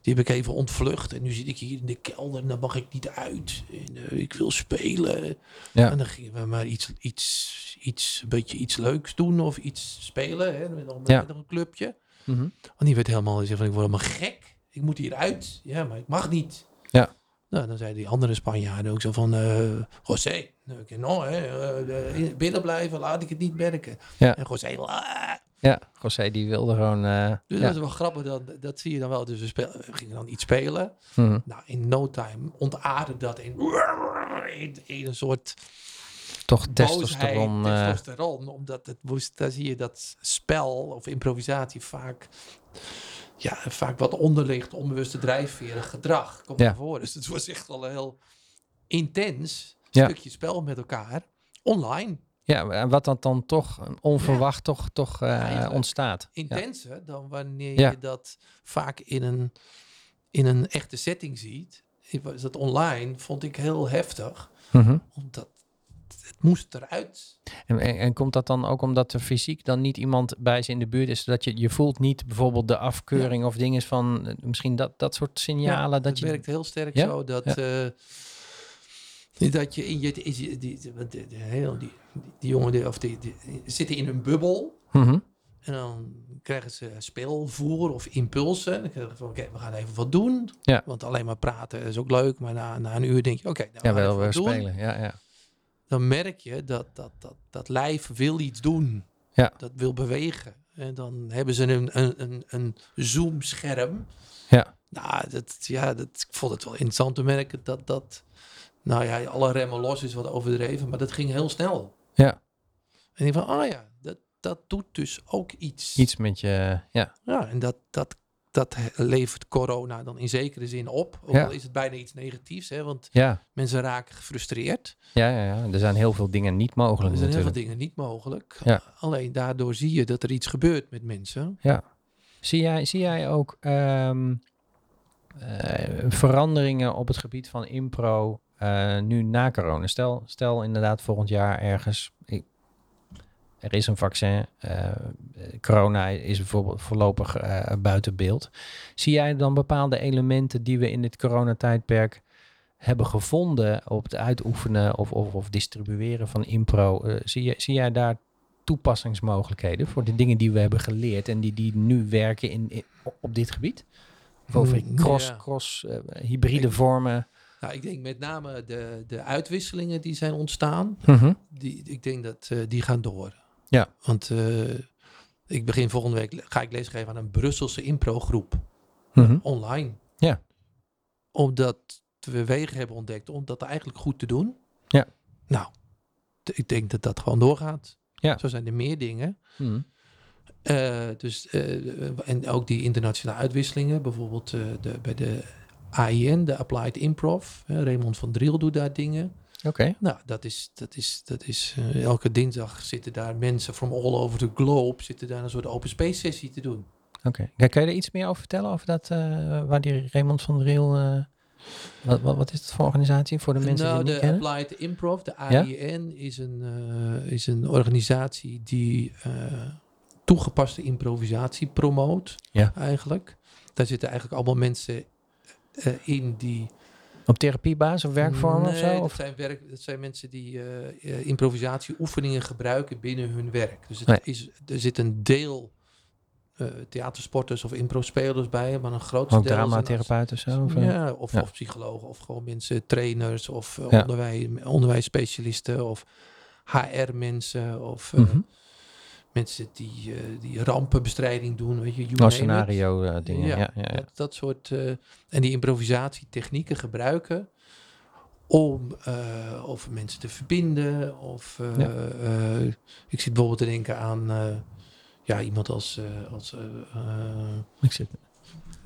S2: die heb ik even ontvlucht. En nu zit ik hier in de kelder en dan mag ik niet uit. En, eh, ik wil spelen.
S1: Ja.
S2: En dan gingen we maar iets, iets, iets, een beetje iets leuks doen of iets spelen. Hè, met, een-
S1: Ja.
S2: met een clubje.
S1: Mhm.
S2: Want die werd helemaal, die zei van ik word helemaal gek. Ik moet hieruit. Ja, maar ik mag niet.
S1: Ja.
S2: Nou, dan zei die andere Spanjaarden ook zo van, eh José, nou, ik- nou, hè, eh, eh, binnen blijven, laat ik het niet merken.
S1: Ja.
S2: En José, "Ah."
S1: ja, José die wilde gewoon... eh, ja.
S2: dus dat is wel grappig, dat, dat zie je dan wel. Dus we, speel- we gingen dan iets spelen.
S1: Mhm.
S2: Nou, in no time ontaarde dat in, in, in een soort
S1: Toch
S2: testosteron,
S1: testosteron. eh,
S2: testosteron omdat het moest, daar zie je dat spel of improvisatie vaak, ja, vaak wat onderligt, onbewuste drijfveren, gedrag komt
S1: Ja.
S2: naar voren. Dus het was echt wel een heel intens
S1: Ja.
S2: stukje spel met elkaar online.
S1: ja, maar wat dat dan toch onverwacht toch, toch eh,
S2: Eigenlijk.
S1: ontstaat. Ja.
S2: Intenser dan wanneer
S1: Ja.
S2: je dat vaak in een, in een echte setting ziet. Ik was Dat online vond ik heel heftig,
S1: Mhm.
S2: omdat het moest eruit.
S1: En, en, en komt dat dan ook omdat er fysiek dan niet iemand bij ze in de buurt is? Zodat je, je voelt niet bijvoorbeeld de afkeuring of dingen van eh, misschien dat, dat soort signalen. dat je,
S2: het werkt heel sterk
S1: Ja?
S2: zo dat,
S1: Ja.
S2: eh, dat je in je... is je- die, die, want de- de heel- die, die, die jongen die, of die, die zitten in een bubbel
S1: Mhm.
S2: en dan krijgen ze speelvoer of impulsen. Dan krijgen ze van oké, we gaan even wat doen.
S1: Ja.
S2: Want alleen maar praten is ook leuk, maar na, na een uur denk je oké, nou, we
S1: Ja,
S2: gaan
S1: wel
S2: even
S1: weer
S2: wat doen
S1: spelen. Ja, ja.
S2: dan merk je dat dat, dat, dat lijf wil iets doen.
S1: Ja.
S2: Dat wil bewegen. En dan hebben ze een, een, een, een zoomscherm.
S1: Ja.
S2: Nou, dat, ja, dat, ik vond het wel interessant te merken dat dat... Nou ja, alle remmen los is wat overdreven, maar dat ging heel snel.
S1: Ja.
S2: En ik van, oh ja, dat, dat doet dus ook iets.
S1: Iets met je. Ja,
S2: Ja, en dat, dat, dat levert corona dan in zekere zin op. Ook
S1: Ja.
S2: al is het bijna iets negatiefs, hè, want
S1: ja.
S2: mensen raken gefrustreerd.
S1: Ja, ja, ja. Er zijn heel veel dingen niet mogelijk
S2: Er zijn heel veel
S1: natuurlijk.
S2: dingen niet mogelijk.
S1: Ja.
S2: Alleen daardoor zie je dat er iets gebeurt met mensen.
S1: Zie jij, zie jij ook ehm, eh, veranderingen op het gebied van impro eh, nu na corona? Stel, stel inderdaad volgend jaar ergens. ik- er is een vaccin. eh, corona is bijvoorbeeld voorlopig eh, buiten beeld. Zie jij dan bepaalde elementen die we in dit coronatijdperk hebben gevonden op het uitoefenen of, of, of distribueren van impro? Eh, zie, je, zie jij daar toepassingsmogelijkheden voor de dingen die we hebben geleerd en die, die nu werken in, in- op dit gebied? Of over
S2: Hmm,
S1: cross,
S2: ja.
S1: cross, eh, hybride
S2: Ik-
S1: vormen.
S2: Nou, ik denk met name de, de uitwisselingen die zijn ontstaan. Die, ik denk dat eh, die gaan door.
S1: Ja.
S2: Want eh, ik begin volgende week le- ga ik lesgeven aan een Brusselse improgroep mhm. online.
S1: Ja.
S2: Omdat we wegen hebben ontdekt om dat eigenlijk goed te doen.
S1: Ja.
S2: Nou, d- ik denk dat dat gewoon doorgaat.
S1: Ja.
S2: Zo zijn er meer dingen.
S1: Hmm.
S2: Eh, dus, eh, en ook die internationale uitwisselingen, bijvoorbeeld eh, de, bij de AIN, de Applied Improv. hè, Raymond van Driel doet daar dingen.
S1: Oké.
S2: Nou, dat is, dat is, dat is eh, elke dinsdag zitten daar mensen from all over the globe, zitten daar een soort open space sessie te doen.
S1: Oké. Ja, Kan je er iets meer over vertellen? Over dat, eh, waar die Raymond van Driel... eh, wat, wat, wat is het voor organisatie voor de mensen
S2: nou,
S1: die
S2: de
S1: het niet kennen?
S2: Applied Improv, de AIN, is, een, eh, is een organisatie die eh, toegepaste improvisatie promoot,
S1: Ja.
S2: eigenlijk. Daar zitten eigenlijk allemaal mensen eh, in die
S1: Op therapiebasis of werkvormen
S2: nee,
S1: of zo?
S2: Dat,
S1: Of?
S2: Zijn werk, dat zijn mensen die eh, eh, improvisatieoefeningen gebruiken binnen hun werk. Dus het
S1: Nee.
S2: is, er zit een deel eh, theatersporters of improspelers bij, maar een groot
S1: Ook
S2: deel... zijn-
S1: dramatherapeut of zo? Of, eh?
S2: Ja, of,
S1: Ja.
S2: of psychologen of gewoon mensen, trainers of eh,
S1: Ja.
S2: onderwij- onderwijsspecialisten of HR-mensen of eh,
S1: Mhm.
S2: mensen die, eh, die rampenbestrijding doen. Weet je, you
S1: Oh,
S2: name it.
S1: scenario eh, dingen. Ja,
S2: Ja,
S1: ja, ja,
S2: Dat, dat soort eh, en die improvisatietechnieken gebruiken om eh, over mensen te verbinden. Of eh,
S1: Ja.
S2: eh, ik zit bijvoorbeeld te denken aan eh, ja, iemand als. eh, als eh, eh,
S1: Ik zit,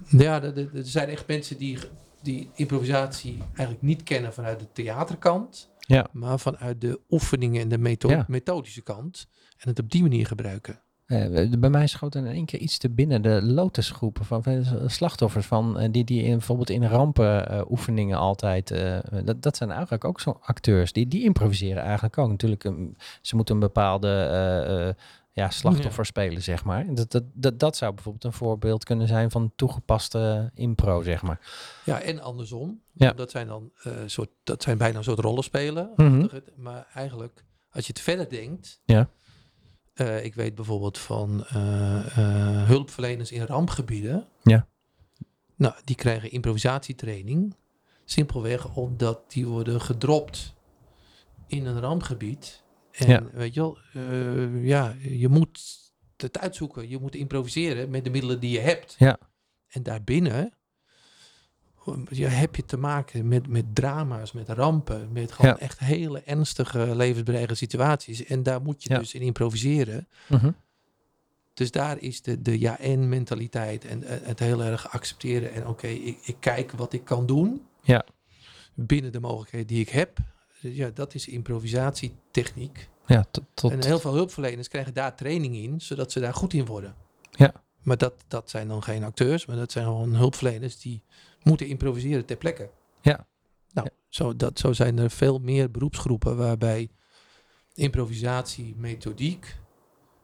S2: ja, er er- er zijn echt mensen die, die improvisatie eigenlijk niet kennen vanuit de theaterkant.
S1: Ja.
S2: Maar vanuit de oefeningen en de metho-
S1: Ja.
S2: methodische kant. En het op die manier gebruiken.
S1: Eh, bij mij schoot er in één keer iets te binnen. De lotusgroepen van van slachtoffers van eh, die, die in, bijvoorbeeld in rampenoefeningen oefeningen altijd. eh, dat, dat zijn eigenlijk ook zo'n acteurs. Die, die improviseren eigenlijk ook. Natuurlijk, een- ze moeten een bepaalde eh, eh, ja, slachtoffer spelen, zeg maar. Dat, dat, dat, dat zou bijvoorbeeld een voorbeeld kunnen zijn van toegepaste impro, zeg maar.
S2: Ja, en andersom.
S1: Ja.
S2: Dat, zijn dan, eh, soort, dat zijn bijna een soort rollenspelen. Maar eigenlijk, als je het verder denkt.
S1: Mhm. Ja.
S2: eh, ik weet bijvoorbeeld van eh, eh, hulpverleners in rampgebieden.
S1: Ja.
S2: Nou, die krijgen improvisatietraining. Simpelweg omdat die worden gedropt in een rampgebied. En
S1: Ja.
S2: weet je wel, eh, ja, je moet het uitzoeken. Je moet improviseren met de middelen die je hebt.
S1: Ja.
S2: En daarbinnen ja, heb je te maken met, met drama's, met rampen, met gewoon
S1: Ja.
S2: echt hele ernstige levensbedreigende situaties. En daar moet je
S1: Ja.
S2: dus in improviseren.
S1: Mhm.
S2: Dus daar is de, de ja-en-mentaliteit en eh, het heel erg accepteren. En oké, ik, ik kijk wat ik kan doen
S1: Ja.
S2: binnen de mogelijkheden die ik heb. Dus Ja, dat is improvisatietechniek.
S1: Ja, tot, tot-
S2: En heel veel hulpverleners krijgen daar training in, zodat ze daar goed in worden.
S1: Ja.
S2: Maar dat, dat zijn dan geen acteurs, maar dat zijn gewoon hulpverleners die moeten improviseren ter plekke.
S1: Ja.
S2: Nou, Zo, dat, zo zijn er veel meer beroepsgroepen waarbij improvisatie, methodiek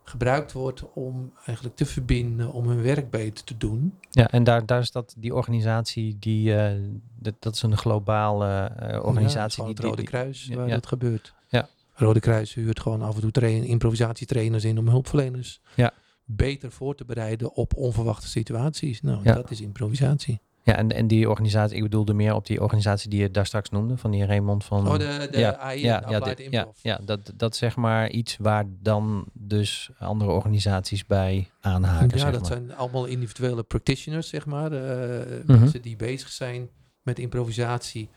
S2: gebruikt wordt om eigenlijk te verbinden, om hun werk beter te doen.
S1: Ja, en daar, daar is dat die organisatie die eh, dat, dat is een globale eh,
S2: Ja, dat is
S1: organisatie die,
S2: gewoon het
S1: die-
S2: Rode
S1: die-
S2: Kruis
S1: ja,
S2: waar
S1: ja.
S2: dat gebeurt.
S1: Ja.
S2: Rode Kruis huurt gewoon af en toe train- improvisatietrainers in om hulpverleners
S1: Ja.
S2: beter voor te bereiden op onverwachte situaties. Nou,
S1: Ja.
S2: dat is improvisatie.
S1: Ja, en, en die organisatie, ik bedoelde meer op die organisatie die je daar straks noemde, van die Raymond van...
S2: Oh, de, de AI, de
S1: ja,
S2: Applied
S1: dit- ja,
S2: Improv.
S1: ja, dat, dat is zeg maar iets waar dan dus andere organisaties bij aanhaken.
S2: Ja,
S1: zeg
S2: dat
S1: maar.
S2: zijn allemaal individuele practitioners, zeg maar. eh,
S1: Mhm.
S2: Mensen die bezig zijn met improvisatie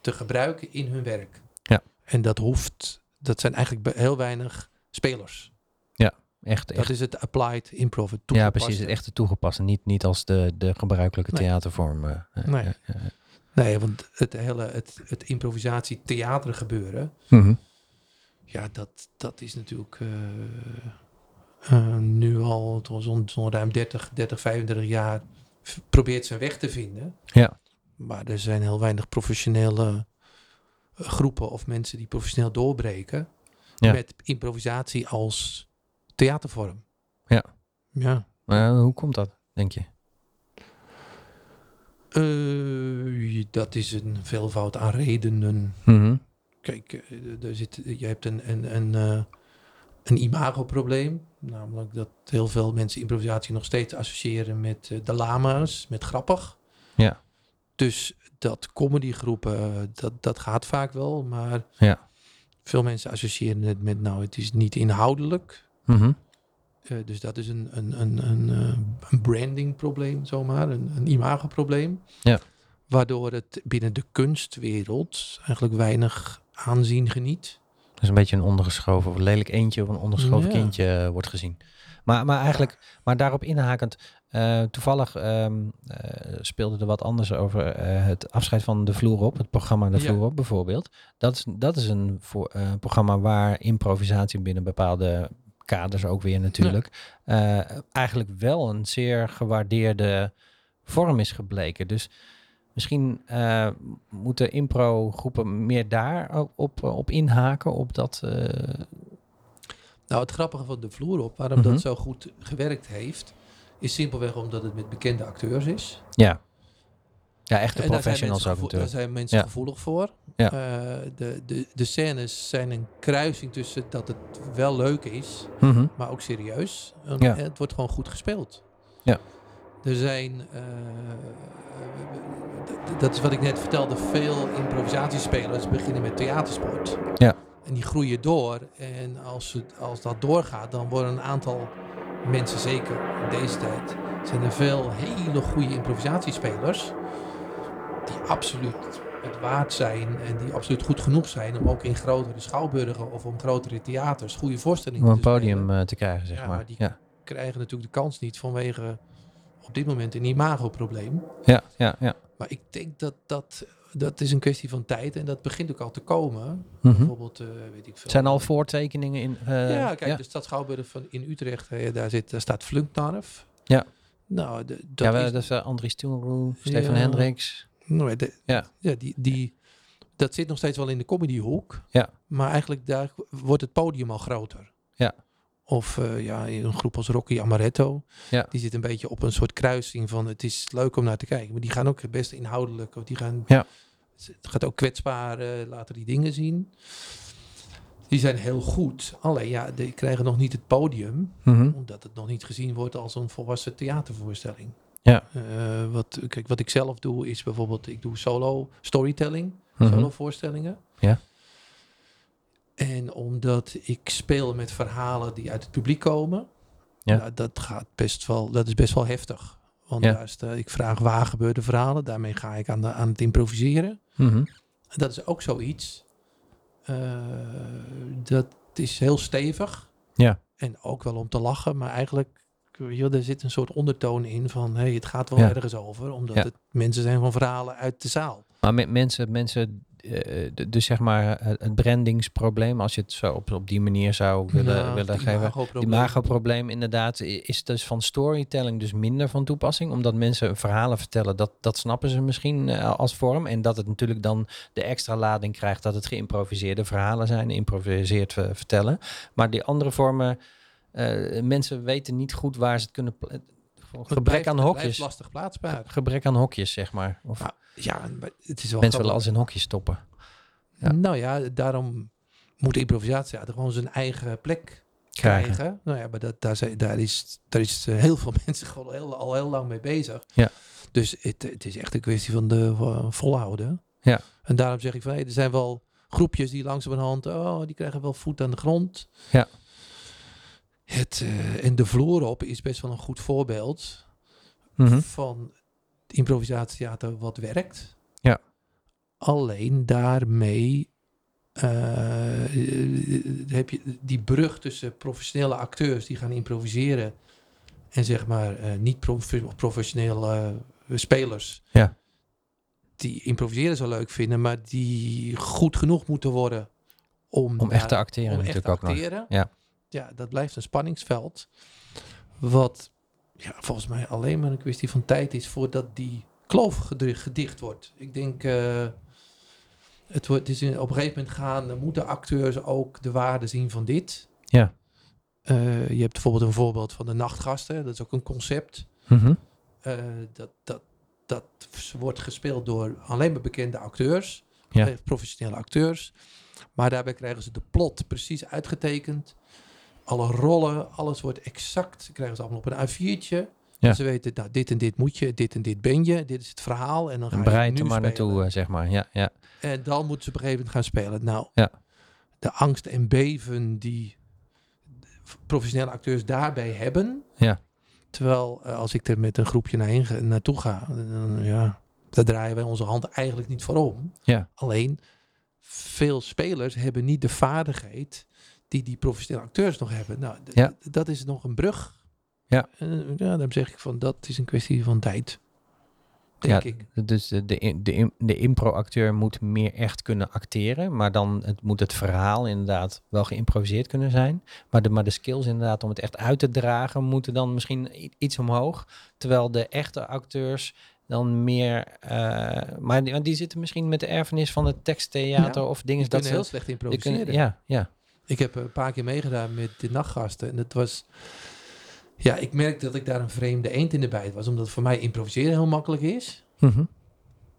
S2: te gebruiken in hun werk.
S1: Ja.
S2: En dat hoeft, dat zijn eigenlijk be- heel weinig spelers.
S1: Echt, echt
S2: Dat is het applied improv. het
S1: ja, precies. Het
S2: toegepaste.
S1: echte toegepaste, niet, niet als de, de gebruikelijke
S2: Nee.
S1: theatervorm. eh, eh,
S2: Nee.
S1: eh, eh.
S2: Nee, want het hele het, het improvisatie theater gebeuren,
S1: Mhm.
S2: ja, dat, dat is natuurlijk eh, eh, nu al toch zo'n zo'n ruim 30, 30, 35 jaar v- probeert zijn weg te vinden.
S1: Ja.
S2: Maar er zijn heel weinig professionele eh, groepen of mensen die professioneel doorbreken
S1: Ja.
S2: met improvisatie als theatervorm.
S1: Ja.
S2: Ja.
S1: Maar hoe komt dat, denk je?
S2: Eh, dat is een veelvoud aan redenen.
S1: Mhm.
S2: Kijk, eh, er zit, je hebt een, een, een, eh, een imagoprobleem. Namelijk dat heel veel mensen improvisatie nog steeds associëren met eh, de lama's, met grappig.
S1: Ja.
S2: Dus dat comedygroepen, eh, dat, dat gaat vaak wel. Maar
S1: Ja.
S2: veel mensen associëren het met, nou, het is niet inhoudelijk.
S1: Mhm.
S2: Eh, dus dat is een, een, een, een, eh, een brandingprobleem, zomaar, een, een imagoprobleem.
S1: Ja.
S2: Waardoor het binnen de kunstwereld eigenlijk weinig aanzien geniet.
S1: Dat is een beetje een ondergeschoven of een lelijk eentje of een ondergeschoven
S2: Ja.
S1: kindje eh, wordt gezien. Maar, maar eigenlijk, maar daarop inhakend, eh, toevallig ehm, eh, speelde er wat anders over eh, het afscheid van De Vloer op, het programma De
S2: Ja.
S1: Vloer op bijvoorbeeld. Dat is, dat is een voor, eh, programma waar improvisatie binnen bepaalde kaders ook weer natuurlijk, eh, eigenlijk wel een zeer gewaardeerde vorm is gebleken. Dus Misschien eh, moeten impro-groepen meer daar ook op, op inhaken, op dat... eh,
S2: Nou, het grappige van de vloer op, waarom
S1: Mhm.
S2: dat zo goed gewerkt heeft, is simpelweg omdat het met bekende acteurs is.
S1: ja. ja, echte
S2: En daar zijn
S1: professionals
S2: mensen
S1: ook
S2: gevoel- Daar
S1: natuurlijk.
S2: zijn mensen
S1: Ja.
S2: gevoelig voor.
S1: Ja.
S2: Eh, de, de, de scènes zijn een kruising tussen dat het wel leuk is,
S1: Mhm.
S2: maar ook serieus. En
S1: Ja.
S2: Het wordt gewoon goed gespeeld.
S1: Ja.
S2: Er zijn, eh, d- dat is wat ik net vertelde, veel improvisatiespelers beginnen met theatersport.
S1: Ja.
S2: En die groeien door. En als, het, als dat doorgaat, dan worden een aantal mensen, zeker in deze tijd, zijn er veel hele goede improvisatiespelers. Die absoluut het waard zijn en die absoluut goed genoeg zijn om ook in grotere schouwburgen of om grotere theaters goede voorstellingen
S1: Om een
S2: te spelen,
S1: podium eh, te krijgen, zeg
S2: Ja,
S1: maar.
S2: maar die-
S1: Ja,
S2: krijgen natuurlijk de kans niet vanwege op dit moment een imagoprobleem.
S1: ja, ja. ja.
S2: Maar ik denk dat dat, dat is een kwestie van tijd en dat begint ook al te komen.
S1: Mhm.
S2: Bijvoorbeeld, eh, weet ik veel.
S1: Het zijn al voortekeningen in. eh,
S2: ja, kijk, dus de stad Schouwburg van in Utrecht, eh, daar, zit, daar staat Flunknarf.
S1: Ja.
S2: Nou, de, dat
S1: Ja, we-
S2: is-
S1: dat is eh, Andries Toenroe, Stefan
S2: Ja.
S1: Hendricks.
S2: nou, de-
S1: Ja.
S2: ja, die, die, dat zit nog steeds wel in de comedyhoek.
S1: Ja.
S2: Maar eigenlijk daar wordt het podium al groter.
S1: Ja.
S2: Of eh, ja, een groep als Rocky Amaretto.
S1: Ja.
S2: Die zit een beetje op een soort kruising van het is leuk om naar te kijken. Maar die gaan ook best inhoudelijk. Of die gaan,
S1: Ja.
S2: Het gaat ook kwetsbaar eh, laten die dingen zien. Die zijn heel goed. Alleen ja, die krijgen nog niet het podium
S1: Mhm.
S2: omdat het nog niet gezien wordt als een volwassen theatervoorstelling.
S1: Ja.
S2: Eh, wat, kijk, wat ik zelf doe is bijvoorbeeld, ik doe solo storytelling,
S1: Mhm.
S2: solo voorstellingen.
S1: Ja.
S2: En omdat ik speel met verhalen die uit het publiek komen,
S1: Ja.
S2: nou, dat, gaat best wel, dat is best wel heftig. Want
S1: Ja.
S2: daar is de- ik vraag waar gebeurde verhalen, daarmee ga ik aan, de, aan het improviseren.
S1: Mhm.
S2: En dat is ook zoiets. eh, dat is heel stevig.
S1: Ja.
S2: En ook wel om te lachen, maar eigenlijk, joh, er zit een soort ondertoon in van, hey, het gaat wel
S1: Ja.
S2: ergens over, omdat
S1: Ja.
S2: het mensen zijn van verhalen uit de zaal.
S1: Maar met mensen, mensen eh, d- dus zeg maar eh, het brandingsprobleem, als je het zo op, op die manier zou willen,
S2: Nou,
S1: willen
S2: het
S1: geven.
S2: imagoprobleem.
S1: Die magoprobleem inderdaad i- is dus van storytelling dus minder van toepassing. Omdat mensen verhalen vertellen, dat, dat snappen ze misschien eh, als vorm. En dat het natuurlijk dan de extra lading krijgt dat het geïmproviseerde verhalen zijn, improviseerd eh, vertellen. Maar die andere vormen, eh, mensen weten niet goed waar ze het kunnen... pla-
S2: Het
S1: Gebrek
S2: blijft-
S1: aan
S2: het
S1: hokjes.
S2: blijft lastig plaatsbaar.
S1: Gebrek aan hokjes, zeg maar. Of
S2: Nou, Ja, maar het is
S1: mensen
S2: wel grappig.
S1: willen alles in hokjes stoppen. ja.
S2: Nou ja, daarom moet improvisatietheater gewoon zijn eigen plek
S1: Krijgen.
S2: krijgen. Nou ja, maar dat, daar, zijn, daar is, daar is eh, heel veel mensen gewoon heel, al heel lang mee bezig.
S1: Ja.
S2: Dus het, het is echt een kwestie van de van volhouden.
S1: Ja.
S2: En daarom zeg ik van, hey, er zijn wel groepjes die langzamerhand, oh, die krijgen wel voet aan de grond.
S1: Ja.
S2: Het, eh, en de vloer op is best wel een goed voorbeeld
S1: Mhm.
S2: van improvisatietheater wat werkt.
S1: Ja.
S2: Alleen daarmee eh, heb je die brug tussen professionele acteurs die gaan improviseren en zeg maar eh, niet prof- professionele eh, spelers.
S1: Ja.
S2: Die improviseren zo leuk vinden, maar die goed genoeg moeten worden om,
S1: Om echt te
S2: daar-
S1: acteren
S2: om echt
S1: natuurlijk
S2: te
S1: ook nog.
S2: acteren.
S1: Ja.
S2: ja, dat blijft een spanningsveld. Wat ja, volgens mij alleen maar een kwestie van tijd is voordat die kloof gedri- gedicht wordt. Ik denk, eh, het wordt, het is in- op een gegeven moment gaan, dan moeten acteurs ook de waarde zien van dit.
S1: Ja.
S2: Eh, je hebt bijvoorbeeld een voorbeeld van de nachtgasten, dat is ook een concept.
S1: Mhm.
S2: Eh, dat, dat, dat wordt gespeeld door alleen maar bekende acteurs,
S1: Ja.
S2: eh, professionele acteurs. Maar daarbij krijgen ze de plot precies uitgetekend. Alle rollen, alles wordt exact. Ze krijgen ze allemaal op een A4'tje.
S1: Ja.
S2: Ze weten, nou, dit en dit moet je, dit en dit ben je, dit is het verhaal. En dan ga
S1: En
S2: je
S1: breid
S2: nu
S1: er maar
S2: spelen.
S1: naartoe, eh, zeg maar. Ja, ja.
S2: En Eh, dan moeten ze op een gegeven moment gaan spelen. Nou,
S1: Ja.
S2: de angst en beven die professionele acteurs daarbij hebben.
S1: Ja.
S2: Terwijl eh, als ik er met een groepje naar heen, ga- naartoe ga, dan, ja, daar draaien wij onze hand eigenlijk niet voor om.
S1: Ja.
S2: Alleen, veel spelers hebben niet de vaardigheid die die professionele acteurs nog hebben. Nou, d-
S1: Ja.
S2: d- dat is nog een brug.
S1: Ja.
S2: En, ja, daarom zeg ik van, dat is een kwestie van tijd. Denk ik.
S1: Dus de, de, in- de, in- de impro-acteur moet meer echt kunnen acteren. Maar dan het, moet het verhaal inderdaad wel geïmproviseerd kunnen zijn. Maar de, maar de skills inderdaad om het echt uit te dragen moeten dan misschien i- iets omhoog. Terwijl de echte acteurs dan meer... eh, maar die, want die zitten misschien met de erfenis van het teksttheater of dingen.
S2: Die
S1: Dat
S2: kunnen
S1: ze
S2: heel slecht
S1: die kunnen-
S2: improviseren.
S1: Ja, ja.
S2: Ik heb een paar keer meegedaan met de nachtgasten. En dat was. Ja, ik merk dat ik daar een vreemde eend in de bijt was. Omdat voor mij improviseren heel makkelijk is.
S1: Mhm.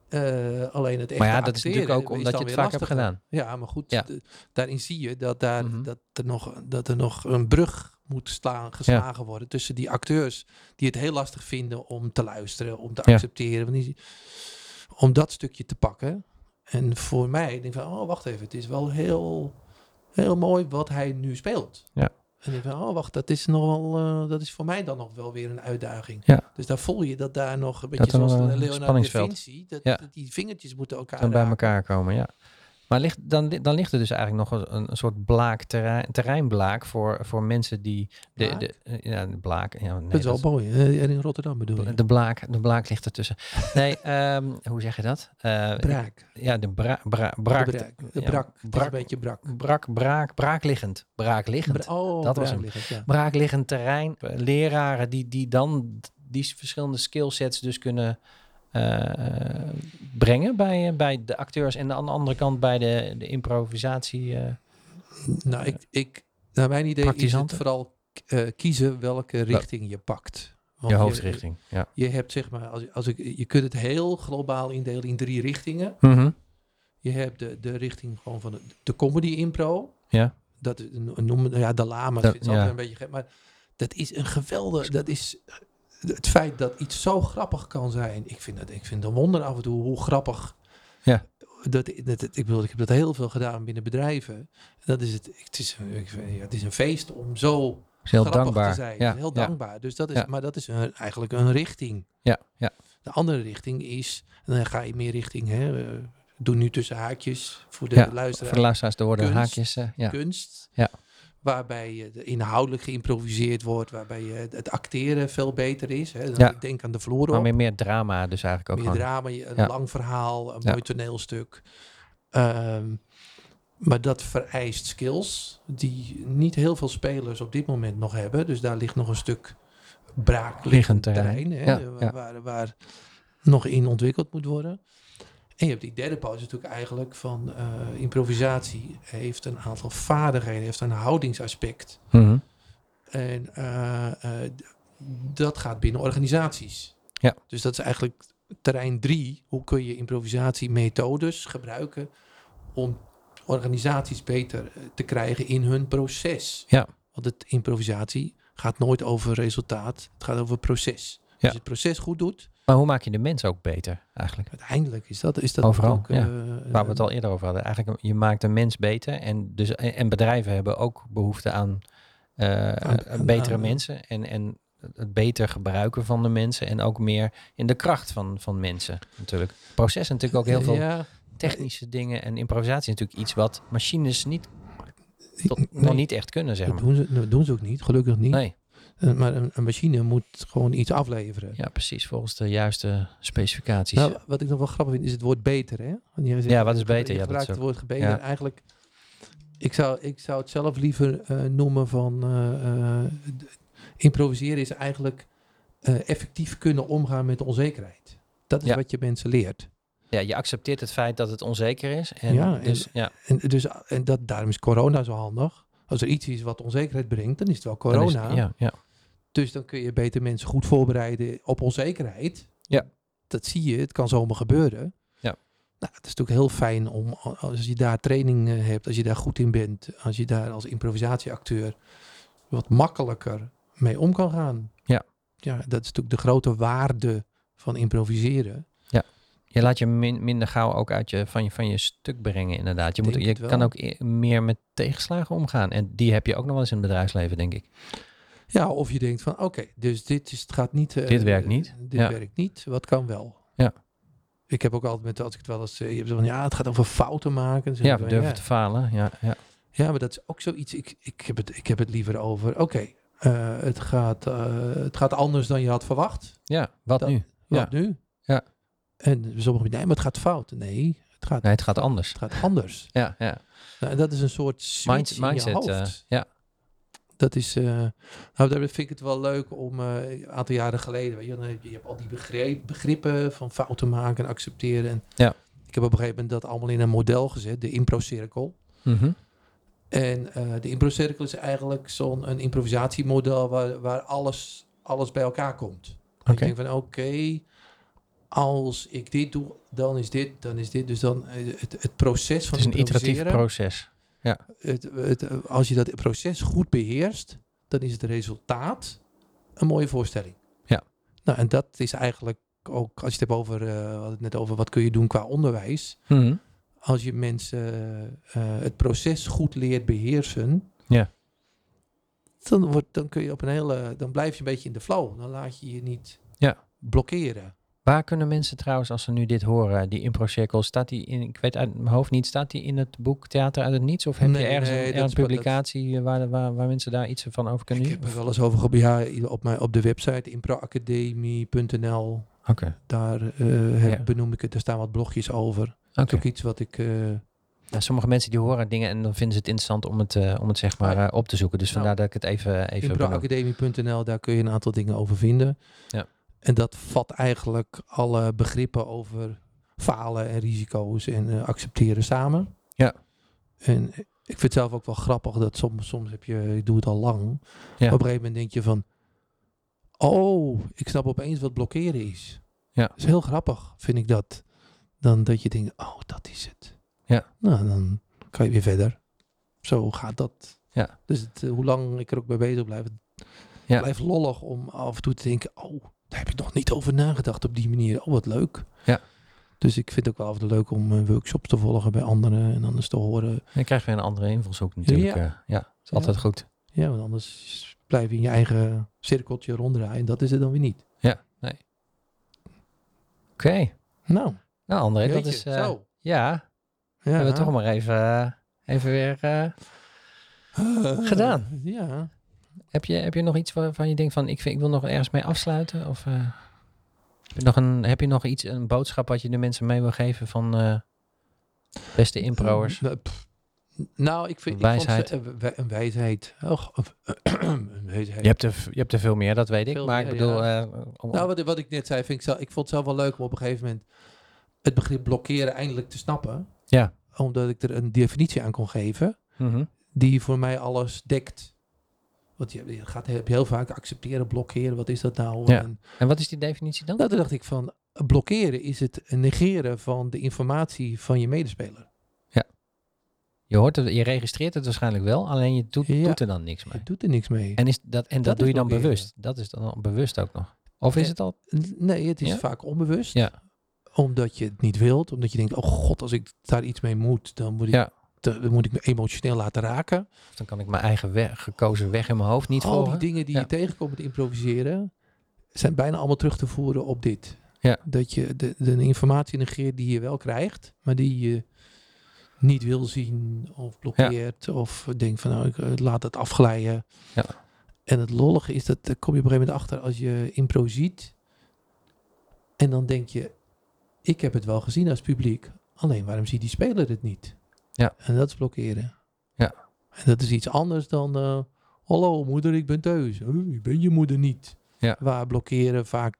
S2: Eh, alleen het echt.
S1: Maar ja, dat is natuurlijk ook omdat je het vaak hebt gedaan.
S2: Ja, maar goed.
S1: Ja.
S2: de- daarin zie je dat, daar,
S1: Mhm.
S2: dat, er nog, dat er nog een brug moet slaan, geslagen worden. Tussen die acteurs die het heel lastig vinden om te luisteren, om te
S1: Ja.
S2: accepteren. want die- om dat stukje te pakken. En voor mij, ik denk van, oh wacht even, het is wel heel, heel mooi wat hij nu speelt.
S1: Ja.
S2: En En ik denk, oh wacht, dat is, nog wel, eh, dat is voor mij dan nog wel weer een uitdaging.
S1: Ja.
S2: Dus daar voel je dat daar nog een
S1: er
S2: beetje
S1: nog
S2: zoals
S1: een
S2: de Leonardo da
S1: spanningsveld.
S2: Vinci. Dat,
S1: Ja.
S2: dat die vingertjes moeten elkaar
S1: dan bij
S2: raken.
S1: elkaar komen, ja. Maar ligt, dan, li- dan ligt er dus eigenlijk nog een, een soort blaak, terrein, terreinblaak voor, voor mensen die... De,
S2: Blaak?
S1: de, eh, ja, de blaak. Ja, nee,
S2: dat is wel
S1: dat-
S2: mooi. eh, en in Rotterdam bedoel je.
S1: de blaak, de blaak ligt ertussen. Nee, ehm, hoe zeg je dat? Eh, ik-
S2: Braak.
S1: ja, de bra, bra,
S2: De
S1: braak,
S2: braak. De
S1: ja,
S2: brak. Het is
S1: brak.
S2: een beetje brak.
S1: brak, braak, braakliggend. Braakliggend.
S2: Bra- oh,
S1: Dat was
S2: braak
S1: hem.
S2: ligt het, ja.
S1: braakliggend terrein. Leraren die, die dan die verschillende skillsets dus kunnen eh, eh, brengen bij, eh, bij de acteurs. En aan de andere kant bij de, de improvisatie. eh,
S2: Nou, ik, ik, naar mijn idee is het
S1: Praktisanten?
S2: vooral eh, kiezen welke richting je pakt. Want
S1: je hoofdrichting. Ja.
S2: Je, hebt zeg maar, als, als ik, je kunt het heel globaal indelen in drie richtingen.
S1: Mhm.
S2: Je hebt de, de richting gewoon van de, de comedy impro.
S1: Ja.
S2: Dat is- noemen, nou ja, de lama
S1: Dat-
S2: vindt ze altijd
S1: ja.
S2: een beetje gek. Maar dat is een geweldig, dat is het feit dat iets zo grappig kan zijn. Ik vind dat, ik vind het een wonder af en toe hoe grappig.
S1: Ja.
S2: Dat, dat, dat- ik bedoel, ik heb dat heel veel gedaan binnen bedrijven. Dat is het, het is, een- ik vind- ja, het is een feest om zo
S1: Is heel
S2: grappig
S1: dankbaar.
S2: te zijn.
S1: Ja.
S2: Heel
S1: ja.
S2: dankbaar. Dus dat is,
S1: Ja.
S2: Maar dat is een- eigenlijk een richting.
S1: Ja. Ja.
S2: De andere richting is, en dan ga je meer richting, hè, eh, doe nu tussen haakjes voor de
S1: Ja, Voor
S2: luisteraar,
S1: de luisteraars te horen,
S2: Kunst.
S1: haakjes. eh, ja.
S2: kunst.
S1: Ja.
S2: Waarbij je de- inhoudelijk geïmproviseerd wordt, waarbij je het- het acteren veel beter is. Hè. Dan-
S1: Ja.
S2: Ik denk aan de vloer
S1: Maar meer, meer drama dus eigenlijk ook
S2: meer
S1: gewoon.
S2: drama, je- een
S1: Ja.
S2: lang verhaal, een
S1: Ja.
S2: mooi toneelstuk. Ehm, maar dat vereist skills die niet heel veel spelers op dit moment nog hebben. Dus daar ligt nog een stuk braakliggend
S1: Liggend
S2: terrein
S1: terrein.
S2: hè,
S1: Ja,
S2: wa-
S1: ja.
S2: Waar, waar nog in ontwikkeld moet worden. En je hebt die derde pauze natuurlijk eigenlijk van eh, improvisatie. Heeft een aantal vaardigheden, heeft een houdingsaspect.
S1: Mhm.
S2: En eh, eh, d- dat gaat binnen organisaties.
S1: Ja.
S2: Dus dat is eigenlijk terrein drie. Hoe kun je improvisatiemethodes gebruiken om organisaties beter eh, te krijgen in hun proces?
S1: Ja.
S2: Want het improvisatie gaat nooit over resultaat. Het gaat over proces. Als je het proces goed doet,
S1: Maar hoe maak je de mens ook beter eigenlijk?
S2: uiteindelijk is dat, is dat
S1: Overal,
S2: ook...
S1: ja.
S2: eh,
S1: Waar we het al eerder over hadden. Eigenlijk, je maakt een mens beter. En, dus, en, en bedrijven hebben ook behoefte aan, eh,
S2: aan-
S1: betere
S2: aan-
S1: mensen. En, en het beter gebruiken van de mensen. En ook meer in de kracht van, van mensen natuurlijk. Proces natuurlijk ook heel veel
S2: Ja,
S1: technische dingen. En improvisatie is natuurlijk iets wat machines niet, tot,
S2: nee,
S1: nog niet echt kunnen, zeg
S2: dat
S1: maar.
S2: doen, ze, dat doen ze ook niet, gelukkig niet.
S1: Nee,
S2: Eh, Maar een, een machine moet gewoon iets afleveren.
S1: ja, precies. Volgens de juiste specificaties.
S2: Nou, wat ik nog wel grappig vind, is het woord beter, hè? Want jij zegt,
S1: ja, wat is beter?
S2: Je
S1: Ja, dat
S2: gebruikt
S1: is
S2: het
S1: ook,
S2: woord beter.
S1: ja.
S2: Eigenlijk, ik zou, ik zou het zelf liever eh, noemen van... eh, eh, d- improviseren is eigenlijk eh, effectief kunnen omgaan met onzekerheid. Dat is
S1: Ja.
S2: wat je mensen leert.
S1: ja, je accepteert het feit dat het onzeker is. En
S2: Ja, en-
S1: dus, ja,
S2: En, dus, en dat, daarom is corona zo handig. Als er iets is wat onzekerheid brengt, dan is het wel
S1: dan is-
S2: corona.
S1: ja, ja.
S2: Dus dan kun je beter mensen goed voorbereiden op onzekerheid.
S1: Ja.
S2: Dat zie je, het kan zomaar gebeuren.
S1: Ja.
S2: Nou, het is natuurlijk heel fijn om, als je daar training eh, hebt, als je daar goed in bent, als je daar als improvisatieacteur wat makkelijker mee om kan gaan.
S1: Ja.
S2: Ja, dat is natuurlijk de grote waarde van improviseren.
S1: Je laat je min- minder gauw ook uit je, van, je, van je stuk brengen, inderdaad. Je, moet,
S2: Denk
S1: je
S2: het wel.
S1: kan ook e- meer met tegenslagen omgaan. En die heb je ook nog wel eens in het bedrijfsleven, denk ik.
S2: Ja, of je denkt van, oké, dus dit is, het gaat niet... eh,
S1: Dit werkt niet.
S2: Dit
S1: Ja.
S2: werkt niet, wat kan wel?
S1: Ja.
S2: Ik heb ook altijd met, als ik het wel eens... eh, Je hebt zo van, ja, het gaat over fouten maken. Dan zeg
S1: Ja,
S2: ik
S1: we
S2: van,
S1: durven te falen. Ja, ja.
S2: Ja, maar dat is ook zoiets. Ik, ik, heb, het, ik heb het liever over. Oké, eh, het, gaat, eh, het gaat anders dan je had verwacht.
S1: ja wat
S2: Dat-
S1: nu?
S2: Wat nu?
S1: Ja.
S2: En sommigen zeggen, nee, maar het gaat fout. Nee, het gaat,
S1: Nee, het gaat anders.
S2: het gaat anders.
S1: Ja, ja.
S2: Nou, en dat is een soort switch
S1: Mind-
S2: in
S1: mindset.
S2: je
S1: eh,
S2: hoofd.
S1: ja.
S2: dat is, eh, nou, daar vind ik het wel leuk om, eh, een aantal jaren geleden, weet je, dan heb je, je hebt al die begreep, begrippen van fouten maken en accepteren. En
S1: Ja.
S2: Ik heb op een gegeven moment dat allemaal in een model gezet, de impro-cirkel.
S1: Mhm.
S2: En eh, de improcirkel is eigenlijk zo'n een improvisatiemodel waar, waar alles, alles bij elkaar komt.
S1: Oké.
S2: Ik denk van oké, als ik dit doe, dan is dit, dan is dit. Dus dan eh, het, het proces van
S1: Het is een iteratief
S2: improviseren,
S1: proces.
S2: het, het, eh, als je dat proces goed beheerst, dan is het resultaat een mooie voorstelling.
S1: Ja.
S2: Nou, en dat is eigenlijk ook, als je het hebt over, eh, we hadden het net over wat kun je doen qua onderwijs
S1: Mhm.
S2: als je mensen eh, het proces goed leert beheersen,
S1: Ja.
S2: dan, wordt, dan, kun je op een hele, dan blijf je een beetje in de flow. Dan laat je je niet
S1: Ja.
S2: blokkeren.
S1: Waar kunnen mensen trouwens, als ze nu dit horen, die improcirkel, staat die in, ik weet uit mijn hoofd niet, staat die in het boek Theater uit het Niets? Of heb
S2: Nee,
S1: je ergens
S2: nee,
S1: een,
S2: dat
S1: ergens
S2: is wat-
S1: publicatie waar, waar, waar mensen daar iets van over kunnen
S2: Ik
S1: zien?
S2: heb er wel eens over gepraat ja, op, mijn, op de website improacademie.nl.
S1: Oké,
S2: Daar eh, heb-
S1: Ja.
S2: benoem ik het. Daar staan wat blogjes over. Dat
S1: oké.
S2: is ook iets wat ik... eh,
S1: Nou, sommige mensen die horen dingen en dan vinden ze het interessant om het, eh, om het zeg maar
S2: Ah,
S1: eh, op te zoeken. Dus
S2: nou,
S1: vandaar dat ik het even, even benoem.
S2: Improacademie.nl, daar kun je een aantal dingen over vinden.
S1: Ja.
S2: En dat vat eigenlijk alle begrippen over falen en risico's en eh, accepteren samen.
S1: Ja.
S2: En ik vind het zelf ook wel grappig dat soms, soms heb je, ik doe het al lang. Op een gegeven moment denk je van, oh, ik snap opeens wat blokkeren is.
S1: Ja.
S2: Dat is heel grappig, vind ik dat. Dan dat je denkt, oh, dat is het.
S1: Ja.
S2: Nou, dan kan je weer verder. Zo gaat dat.
S1: Ja.
S2: Dus het, eh, hoe lang ik er ook mee bezig blijf, het
S1: Ja.
S2: blijft lollig om af en toe te denken, oh, daar heb ik nog niet over nagedacht op die manier. Oh, wat leuk.
S1: Ja.
S2: Dus ik vind het ook wel af en toe leuk om eh, workshops te volgen bij anderen en anders te horen.
S1: Dan krijg je weer een andere invalshoek natuurlijk. eh, Ja, is altijd goed.
S2: Ja, want anders blijf je in je eigen cirkeltje ronddraaien. Dat is het dan weer niet.
S1: Oké,
S2: Nou,
S1: nou André, dat is...
S2: Jeetje,
S1: eh,
S2: zo.
S1: Ja,
S2: Ja.
S1: hebben we toch maar even, eh, even weer... eh,
S2: Eh,
S1: gedaan.
S2: Ja.
S1: Heb je, heb je nog iets waarvan je denkt van ik, vind, ik wil nog ergens mee afsluiten? Of eh, heb, je nog een, heb je nog iets, een boodschap wat je de mensen mee wil geven van eh, beste improers?
S2: Eh, pff. Nou, ik vind...
S1: Wijsheid.
S2: Ik vond, ze- eh, wij- een wijsheid. Och, een wijsheid.
S1: Je hebt, er, je hebt er veel meer, dat weet ik.
S2: Veel
S1: maar ik
S2: meer,
S1: bedoel, eh, om-
S2: Nou, wat, wat ik net zei, vind ik, zelf, ik vond het zelf wel leuk om op een gegeven moment het begrip blokkeren eindelijk te snappen.
S1: Ja.
S2: Omdat ik er een definitie aan kon geven
S1: mhm,
S2: die voor mij alles dekt. Want je, je gaat heb je heel vaak accepteren, blokkeren, wat is dat nou?
S1: Ja.
S2: En
S1: En wat is die definitie dan?
S2: Nou, toen dacht ik van, blokkeren is het negeren van de informatie van je medespeler.
S1: Je, hoort het, je registreert het waarschijnlijk wel, alleen je doet,
S2: Ja.
S1: doet er dan niks mee.
S2: Je doet er niks mee.
S1: En, is dat, en dat,
S2: Dat
S1: doe
S2: is
S1: je dan
S2: blokkeren.
S1: bewust. Dat is dan bewust ook nog. Of is
S2: Ja.
S1: het al?
S2: Nee, het is
S1: Ja?
S2: vaak onbewust.
S1: Ja.
S2: Omdat je het niet wilt. Omdat je denkt, oh god, als ik daar iets mee moet, dan moet ik,
S1: Ja.
S2: te- dan moet ik me emotioneel laten raken.
S1: Of dan kan ik mijn eigen weg, gekozen weg in mijn hoofd niet
S2: Al Oh, die
S1: volgen.
S2: dingen die
S1: Oh, Ja.
S2: je tegenkomt te improviseren, zijn bijna allemaal terug te voeren op dit.
S1: Ja.
S2: Dat je de, de informatie negeert die je wel krijgt, maar die je niet wil zien of blokkeert. Of denkt van, nou, ik eh, laat het afglijden.
S1: Ja.
S2: En het lollige is dat, daar kom je op een gegeven moment achter als je impro ziet. En dan denk je, ik heb het wel gezien als publiek. Alleen waarom ziet die speler het niet?
S1: Ja.
S2: En dat is blokkeren.
S1: Ja.
S2: En dat is iets anders dan, eh, hallo moeder, ik ben thuis. Oh, ik ben je moeder niet.
S1: Ja.
S2: Waar blokkeren vaak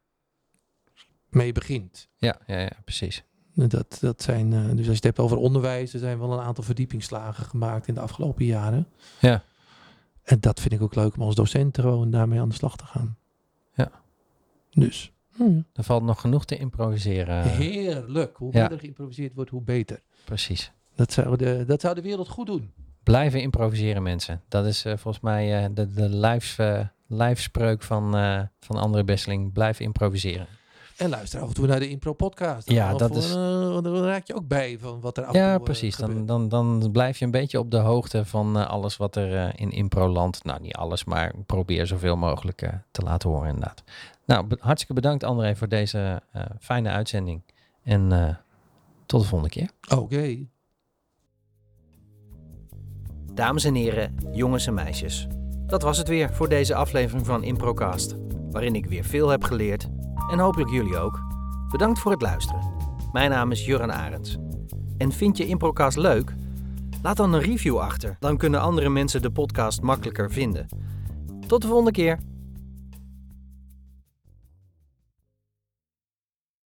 S2: mee begint.
S1: Ja, ja, ja, precies.
S2: En Dat, dat zijn, eh, dus als je het hebt over onderwijs, er zijn wel een aantal verdiepingsslagen gemaakt in de afgelopen jaren.
S1: Ja.
S2: En dat vind ik ook leuk om als docent gewoon daarmee aan de slag te gaan.
S1: Ja.
S2: Dus. hm.
S1: Er valt nog genoeg te improviseren.
S2: Heerlijk. Hoe
S1: Eh. Ja.
S2: minder geïmproviseerd wordt, hoe beter.
S1: Precies.
S2: Dat zou de, dat zou de wereld goed doen.
S1: Blijven improviseren, mensen. Dat is eh, volgens mij eh, de, de lijfs, eh, lijfspreuk van, eh van André Besseling. Blijf improviseren.
S2: En luister af en toe naar de impro-podcast.
S1: Ja,
S2: Dan-
S1: dat
S2: voor-
S1: is-
S2: eh, dan raak je ook bij van wat er af en toe,
S1: ja,
S2: eh,
S1: precies. Dan,
S2: gebeurt.
S1: dan, dan blijf je een beetje op de hoogte van eh, alles wat er eh, in improland... Nou, niet alles, maar probeer zoveel mogelijk eh, te laten horen inderdaad. Nou, be- hartstikke bedankt André voor deze eh, fijne uitzending. En eh, tot de volgende keer.
S2: Oké.
S3: Dames en heren, jongens en meisjes. Dat was het weer voor deze aflevering van Improcast, waarin ik weer veel heb geleerd en hopelijk jullie ook. Bedankt voor het luisteren. Mijn naam is Jurgen Arends. En vind je Improcast leuk? Laat dan een review achter, dan kunnen andere mensen de podcast makkelijker vinden. Tot de volgende keer.